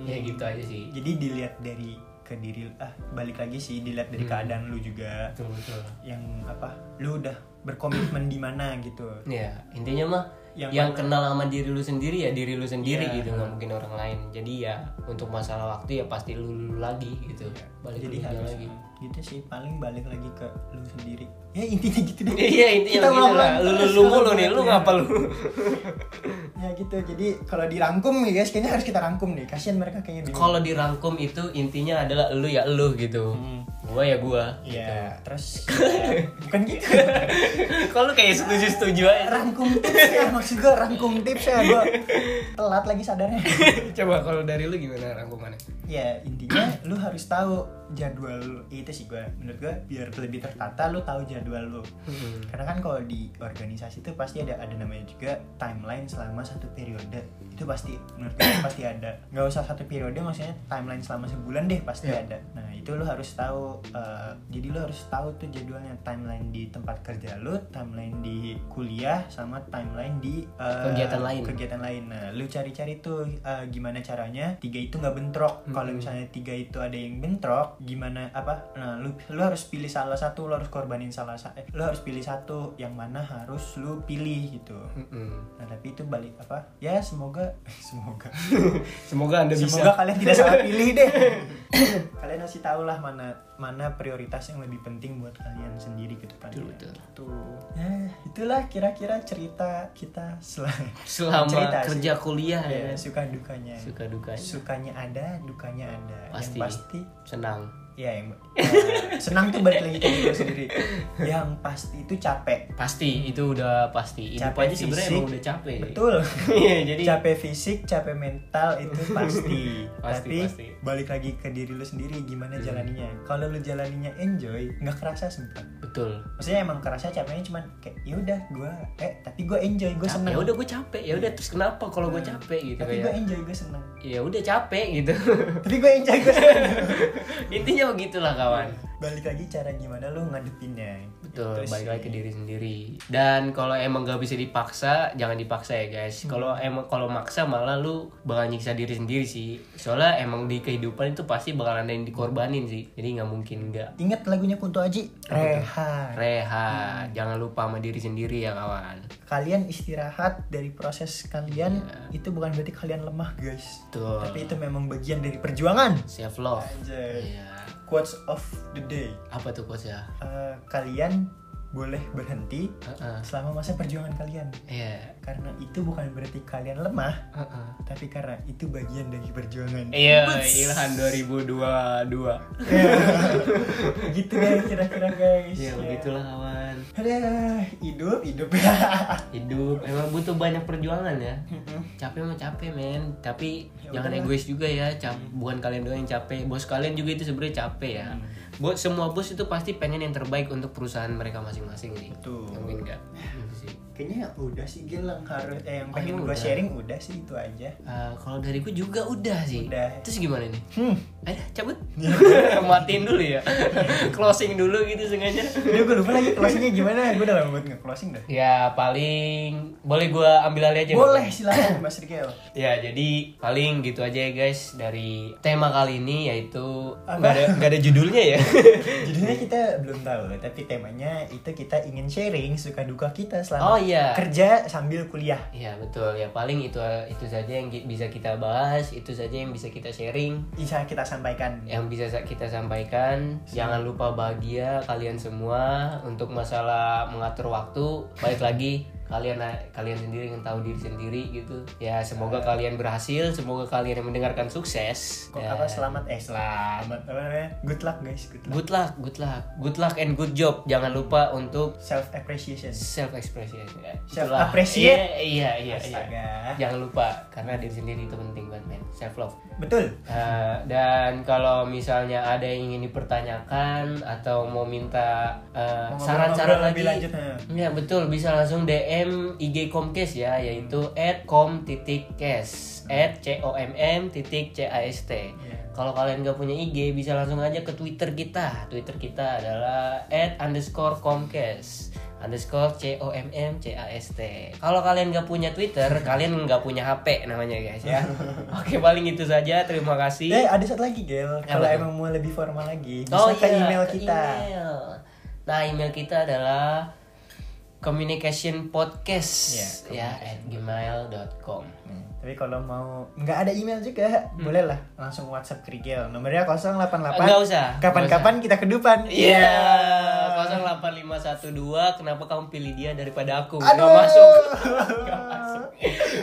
Speaker 1: ya gitu aja sih.
Speaker 2: jadi dilihat dari ke diri ah balik lagi sih dilihat
Speaker 1: Hmm.
Speaker 2: dari keadaan lu juga
Speaker 1: Betul betul.
Speaker 2: yang apa lu udah berkomitmen di mana gitu
Speaker 1: Ya, intinya mah
Speaker 2: Yang
Speaker 1: yang kenal sama diri lu sendiri ya diri lu sendiri
Speaker 2: Iya.
Speaker 1: gitu nggak mungkin orang lain jadi ya untuk masalah waktu ya pasti lu, lu lagi gitu balik
Speaker 2: Iya. jadi
Speaker 1: dulunya
Speaker 2: harus
Speaker 1: lagi <laughs>
Speaker 2: gitu sih paling balik lagi ke lu sendiri ya intinya gitu deh
Speaker 1: iya intinya
Speaker 2: Kita Iya.
Speaker 1: gitu lah lu
Speaker 2: ngomong
Speaker 1: lu
Speaker 2: terus,
Speaker 1: lu
Speaker 2: ngomong
Speaker 1: mulu nih lu
Speaker 2: terus.
Speaker 1: ngapa lu
Speaker 2: ya gitu jadi kalau dirangkum nih guys kayaknya harus kita rangkum nih kasihan mereka kayaknya bingung
Speaker 1: kalau dirangkum itu intinya adalah lu ya lu gitu gua ya gua
Speaker 2: ya terus ya, bukan gitu
Speaker 1: <laughs> kalau lu kayak setuju setuju aja
Speaker 2: rangkum tips ya maksud gue rangkum tips ya gue telat lagi sadarnya
Speaker 1: <laughs> coba kalau dari lu gimana rangkumannya
Speaker 2: ya intinya lu harus tahu jadwal lu itu sih gue menurut gue biar lebih tertata lu tahu jadwal lu
Speaker 1: Hmm.
Speaker 2: karena kan kalau di organisasi itu pasti ada ada namanya juga timeline selama satu periode itu pasti menurut gue pasti ada nggak usah satu periode maksudnya timeline selama sebulan deh pasti
Speaker 1: Iya.
Speaker 2: ada nah itu lu harus tahu eh, jadi lu harus tahu tuh jadwalnya timeline di tempat kerja lu timeline di kuliah sama timeline di eh,
Speaker 1: Kegiatan lain.
Speaker 2: kegiatan lain. Nah, lu cari-cari tuh uh, gimana caranya tiga itu nggak bentrok.
Speaker 1: Hmm.
Speaker 2: Kalau misalnya tiga itu ada yang bentrok, gimana apa? Nah, lu lu harus pilih salah satu, lu harus korbanin salah satu. Lu harus pilih satu yang mana harus lu pilih gitu.
Speaker 1: Mm-mm.
Speaker 2: Nah, tapi itu balik apa? Ya semoga <laughs> semoga
Speaker 1: <laughs> semoga anda bisa
Speaker 2: semoga kalian tidak salah pilih deh. kalian masih tahu lah mana mana prioritas yang lebih penting buat kalian sendiri ke depannya.
Speaker 1: Betul, betul.
Speaker 2: Tuh. Ya, itulah kira-kira cerita kita selain
Speaker 1: selama
Speaker 2: Cerita sih.
Speaker 1: kerja kuliah ya
Speaker 2: ya, suka dukanya.
Speaker 1: suka dukanya
Speaker 2: sukanya ada dukanya ada
Speaker 1: Pasti.
Speaker 2: yang pasti
Speaker 1: senang
Speaker 2: ya yang eh, senang tuh balik lagi ke diri gue sendiri yang pasti itu capek
Speaker 1: pasti itu udah pasti hidup
Speaker 2: Capek
Speaker 1: aja sebenarnya
Speaker 2: fisik.
Speaker 1: emang udah capek
Speaker 2: betul
Speaker 1: Iya, jadi
Speaker 2: capek fisik capek mental itu pasti,
Speaker 1: Pasti,
Speaker 2: tapi
Speaker 1: pasti. Hmm.
Speaker 2: balik lagi ke diri lu sendiri gimana jalaninya kalau lu jalaninya enjoy nggak kerasa sumpah
Speaker 1: betul
Speaker 2: maksudnya emang kerasa capeknya cuman kayak ya udah gue eh tapi gue enjoy gue
Speaker 1: capek
Speaker 2: seneng
Speaker 1: ya
Speaker 2: Hmm.
Speaker 1: udah gue capek ya udah terus kenapa kalau gue capek gitu
Speaker 2: tapi
Speaker 1: kayak
Speaker 2: gue enjoy gue seneng
Speaker 1: ya udah capek
Speaker 2: <laughs>
Speaker 1: gitu
Speaker 2: tapi gue enjoy gue seneng <laughs>
Speaker 1: intinya begitulah kawan
Speaker 2: balik lagi cara gimana lu ngadepinnya
Speaker 1: betul
Speaker 2: Itu
Speaker 1: balik
Speaker 2: sih.
Speaker 1: lagi ke diri sendiri dan kalau emang gak bisa dipaksa jangan dipaksa ya
Speaker 2: Hmm.
Speaker 1: guys kalau emang kalau maksa malah lu bakal nyiksa diri sendiri sih soalnya emang di kehidupan itu pasti bakalan ada yang dikorbanin sih jadi nggak mungkin nggak
Speaker 2: Ingat lagunya Kunto Aji, Rehat.
Speaker 1: rehat
Speaker 2: Hmm.
Speaker 1: jangan lupa sama diri sendiri ya kawan
Speaker 2: Kalian istirahat dari proses kalian itu bukan berarti kalian lemah, guys.
Speaker 1: betul
Speaker 2: Tapi itu memang bagian dari perjuangan.
Speaker 1: self love
Speaker 2: Anjay.
Speaker 1: iya
Speaker 2: Quotes of the day.
Speaker 1: apa tuh coach ya
Speaker 2: Eh, kalian boleh berhenti
Speaker 1: Heeh.
Speaker 2: selama masa perjuangan kalian.
Speaker 1: iya
Speaker 2: Karena itu bukan berarti kalian lemah,
Speaker 1: Heeh.
Speaker 2: tapi karena itu bagian dari perjuangan. <laughs>
Speaker 1: Iya,
Speaker 2: Buts.
Speaker 1: Ilhan 2022.
Speaker 2: Ya. gitu deh kira-kira, guys.
Speaker 1: Iya, begitulah kawan.
Speaker 2: Aduh, hidup, hidup. <laughs>
Speaker 1: Hidup emang butuh banyak perjuangan ya.
Speaker 2: Hmm.
Speaker 1: Capek mah capek, men. Tapi
Speaker 2: Ya
Speaker 1: jangan
Speaker 2: udahlah.
Speaker 1: egois juga ya. Cap bukan kalian doang yang capek. Bos kalian juga itu sebenarnya capek ya.
Speaker 2: Hmm.
Speaker 1: Buat semua bos itu pasti pengen yang terbaik untuk perusahaan mereka masing-masing sih.
Speaker 2: Betul.
Speaker 1: Mungkin enggak. Gitu sih.
Speaker 2: Kayaknya udah sih Gil yang harus eh, yang
Speaker 1: Oh,
Speaker 2: pengen gue
Speaker 1: udah.
Speaker 2: sharing udah sih itu aja.
Speaker 1: Eh, kalau dariku juga udah sih.
Speaker 2: Udah.
Speaker 1: Terus gimana nih?
Speaker 2: Hmm.
Speaker 1: Ayo
Speaker 2: <laughs>
Speaker 1: cabut. <laughs> Matiin dulu ya. Closing dulu gitu sengaja.
Speaker 2: Udah gue lupa lagi closingnya gimana. Gue udah lama banget nge-closing dah.
Speaker 1: Ya paling boleh gua ambil alih aja. Bang?
Speaker 2: Boleh silakan Mas Rikel.
Speaker 1: Ya jadi paling gitu aja ya guys dari tema kali ini yaitu
Speaker 2: Apa?
Speaker 1: nggak ada nggak ada judulnya ya.
Speaker 2: <laughs> Judulnya kita belum tahu, tapi temanya itu kita ingin sharing suka duka kita
Speaker 1: oh
Speaker 2: selama
Speaker 1: iya.
Speaker 2: kerja sambil kuliah.
Speaker 1: Iya betul ya paling itu itu saja yang ki- bisa kita bahas itu saja yang bisa kita sharing
Speaker 2: Bisa kita sampaikan.
Speaker 1: yang bisa sa- kita sampaikan jangan lupa bahagia kalian semua untuk masalah mengatur waktu baik lagi kalian kalian sendiri yang tahu diri sendiri gitu ya semoga kalian berhasil semoga kalian yang mendengarkan sukses Ya.
Speaker 2: Kok
Speaker 1: Dan-
Speaker 2: apa selamat eh selamat apa namanya? Good luck guys, good luck.
Speaker 1: Good luck, good luck, good luck and good job. Jangan lupa untuk
Speaker 2: Self appreciation.
Speaker 1: self expression ya.
Speaker 2: Self
Speaker 1: Itulah.
Speaker 2: appreciate.
Speaker 1: Iya, iya, iya. iya.
Speaker 2: Astaga.
Speaker 1: Jangan lupa karena diri sendiri itu penting banget, men. Self love.
Speaker 2: Betul.
Speaker 1: Eh, dan kalau misalnya ada yang ingin dipertanyakan atau mau minta eh,
Speaker 2: Mau
Speaker 1: saran-saran
Speaker 2: ngobrol-ngobrol lebih
Speaker 1: lagi,
Speaker 2: lanjut, nah.
Speaker 1: ya betul bisa langsung DM IG Comcast ya, yaitu @com.cast @com.cast. Kalau kalian nggak punya IG bisa langsung aja ke Twitter kita. Twitter kita adalah @comcast underscore c o m m c a s t kalau kalian nggak punya twitter kalian nggak punya hp namanya guys ya oke paling itu saja terima
Speaker 2: Eh
Speaker 1: kasih
Speaker 2: ada satu lagi Gel, kalau
Speaker 1: Iya. tuh?
Speaker 2: emang mau lebih formal lagi bisa ke
Speaker 1: iya,
Speaker 2: email
Speaker 1: ke
Speaker 2: kita.
Speaker 1: email. nah email kita adalah communication podcast
Speaker 2: Iya,
Speaker 1: ya at gmail.com
Speaker 2: Hmm, Tapi kalau mau nggak ada email juga, boleh lah langsung WhatsApp Krigel. Nomornya
Speaker 1: Hmm.
Speaker 2: 088.
Speaker 1: Nggak usah,
Speaker 2: Kapan-kapan kita kedupan.
Speaker 1: Iya, 08512 kenapa kamu pilih dia daripada aku? Gak
Speaker 2: Aduh.
Speaker 1: masuk.
Speaker 2: <laughs>
Speaker 1: Gak masuk.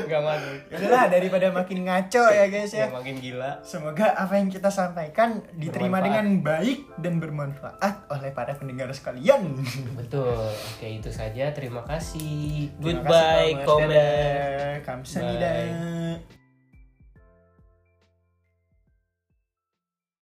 Speaker 1: Gak masuk.
Speaker 2: Udahlah daripada makin ngaco ya guys
Speaker 1: Ya
Speaker 2: ya.
Speaker 1: makin gila.
Speaker 2: Semoga apa yang kita sampaikan diterima
Speaker 1: Bermanfaat.
Speaker 2: dengan baik dan bermanfaat oleh para pendengar sekalian.
Speaker 1: Betul. Oke, itu saja. Terima kasih.
Speaker 2: Terima kasih
Speaker 1: Goodbye,
Speaker 2: banget.
Speaker 1: comment.
Speaker 2: Dadah. Kamsahamnida.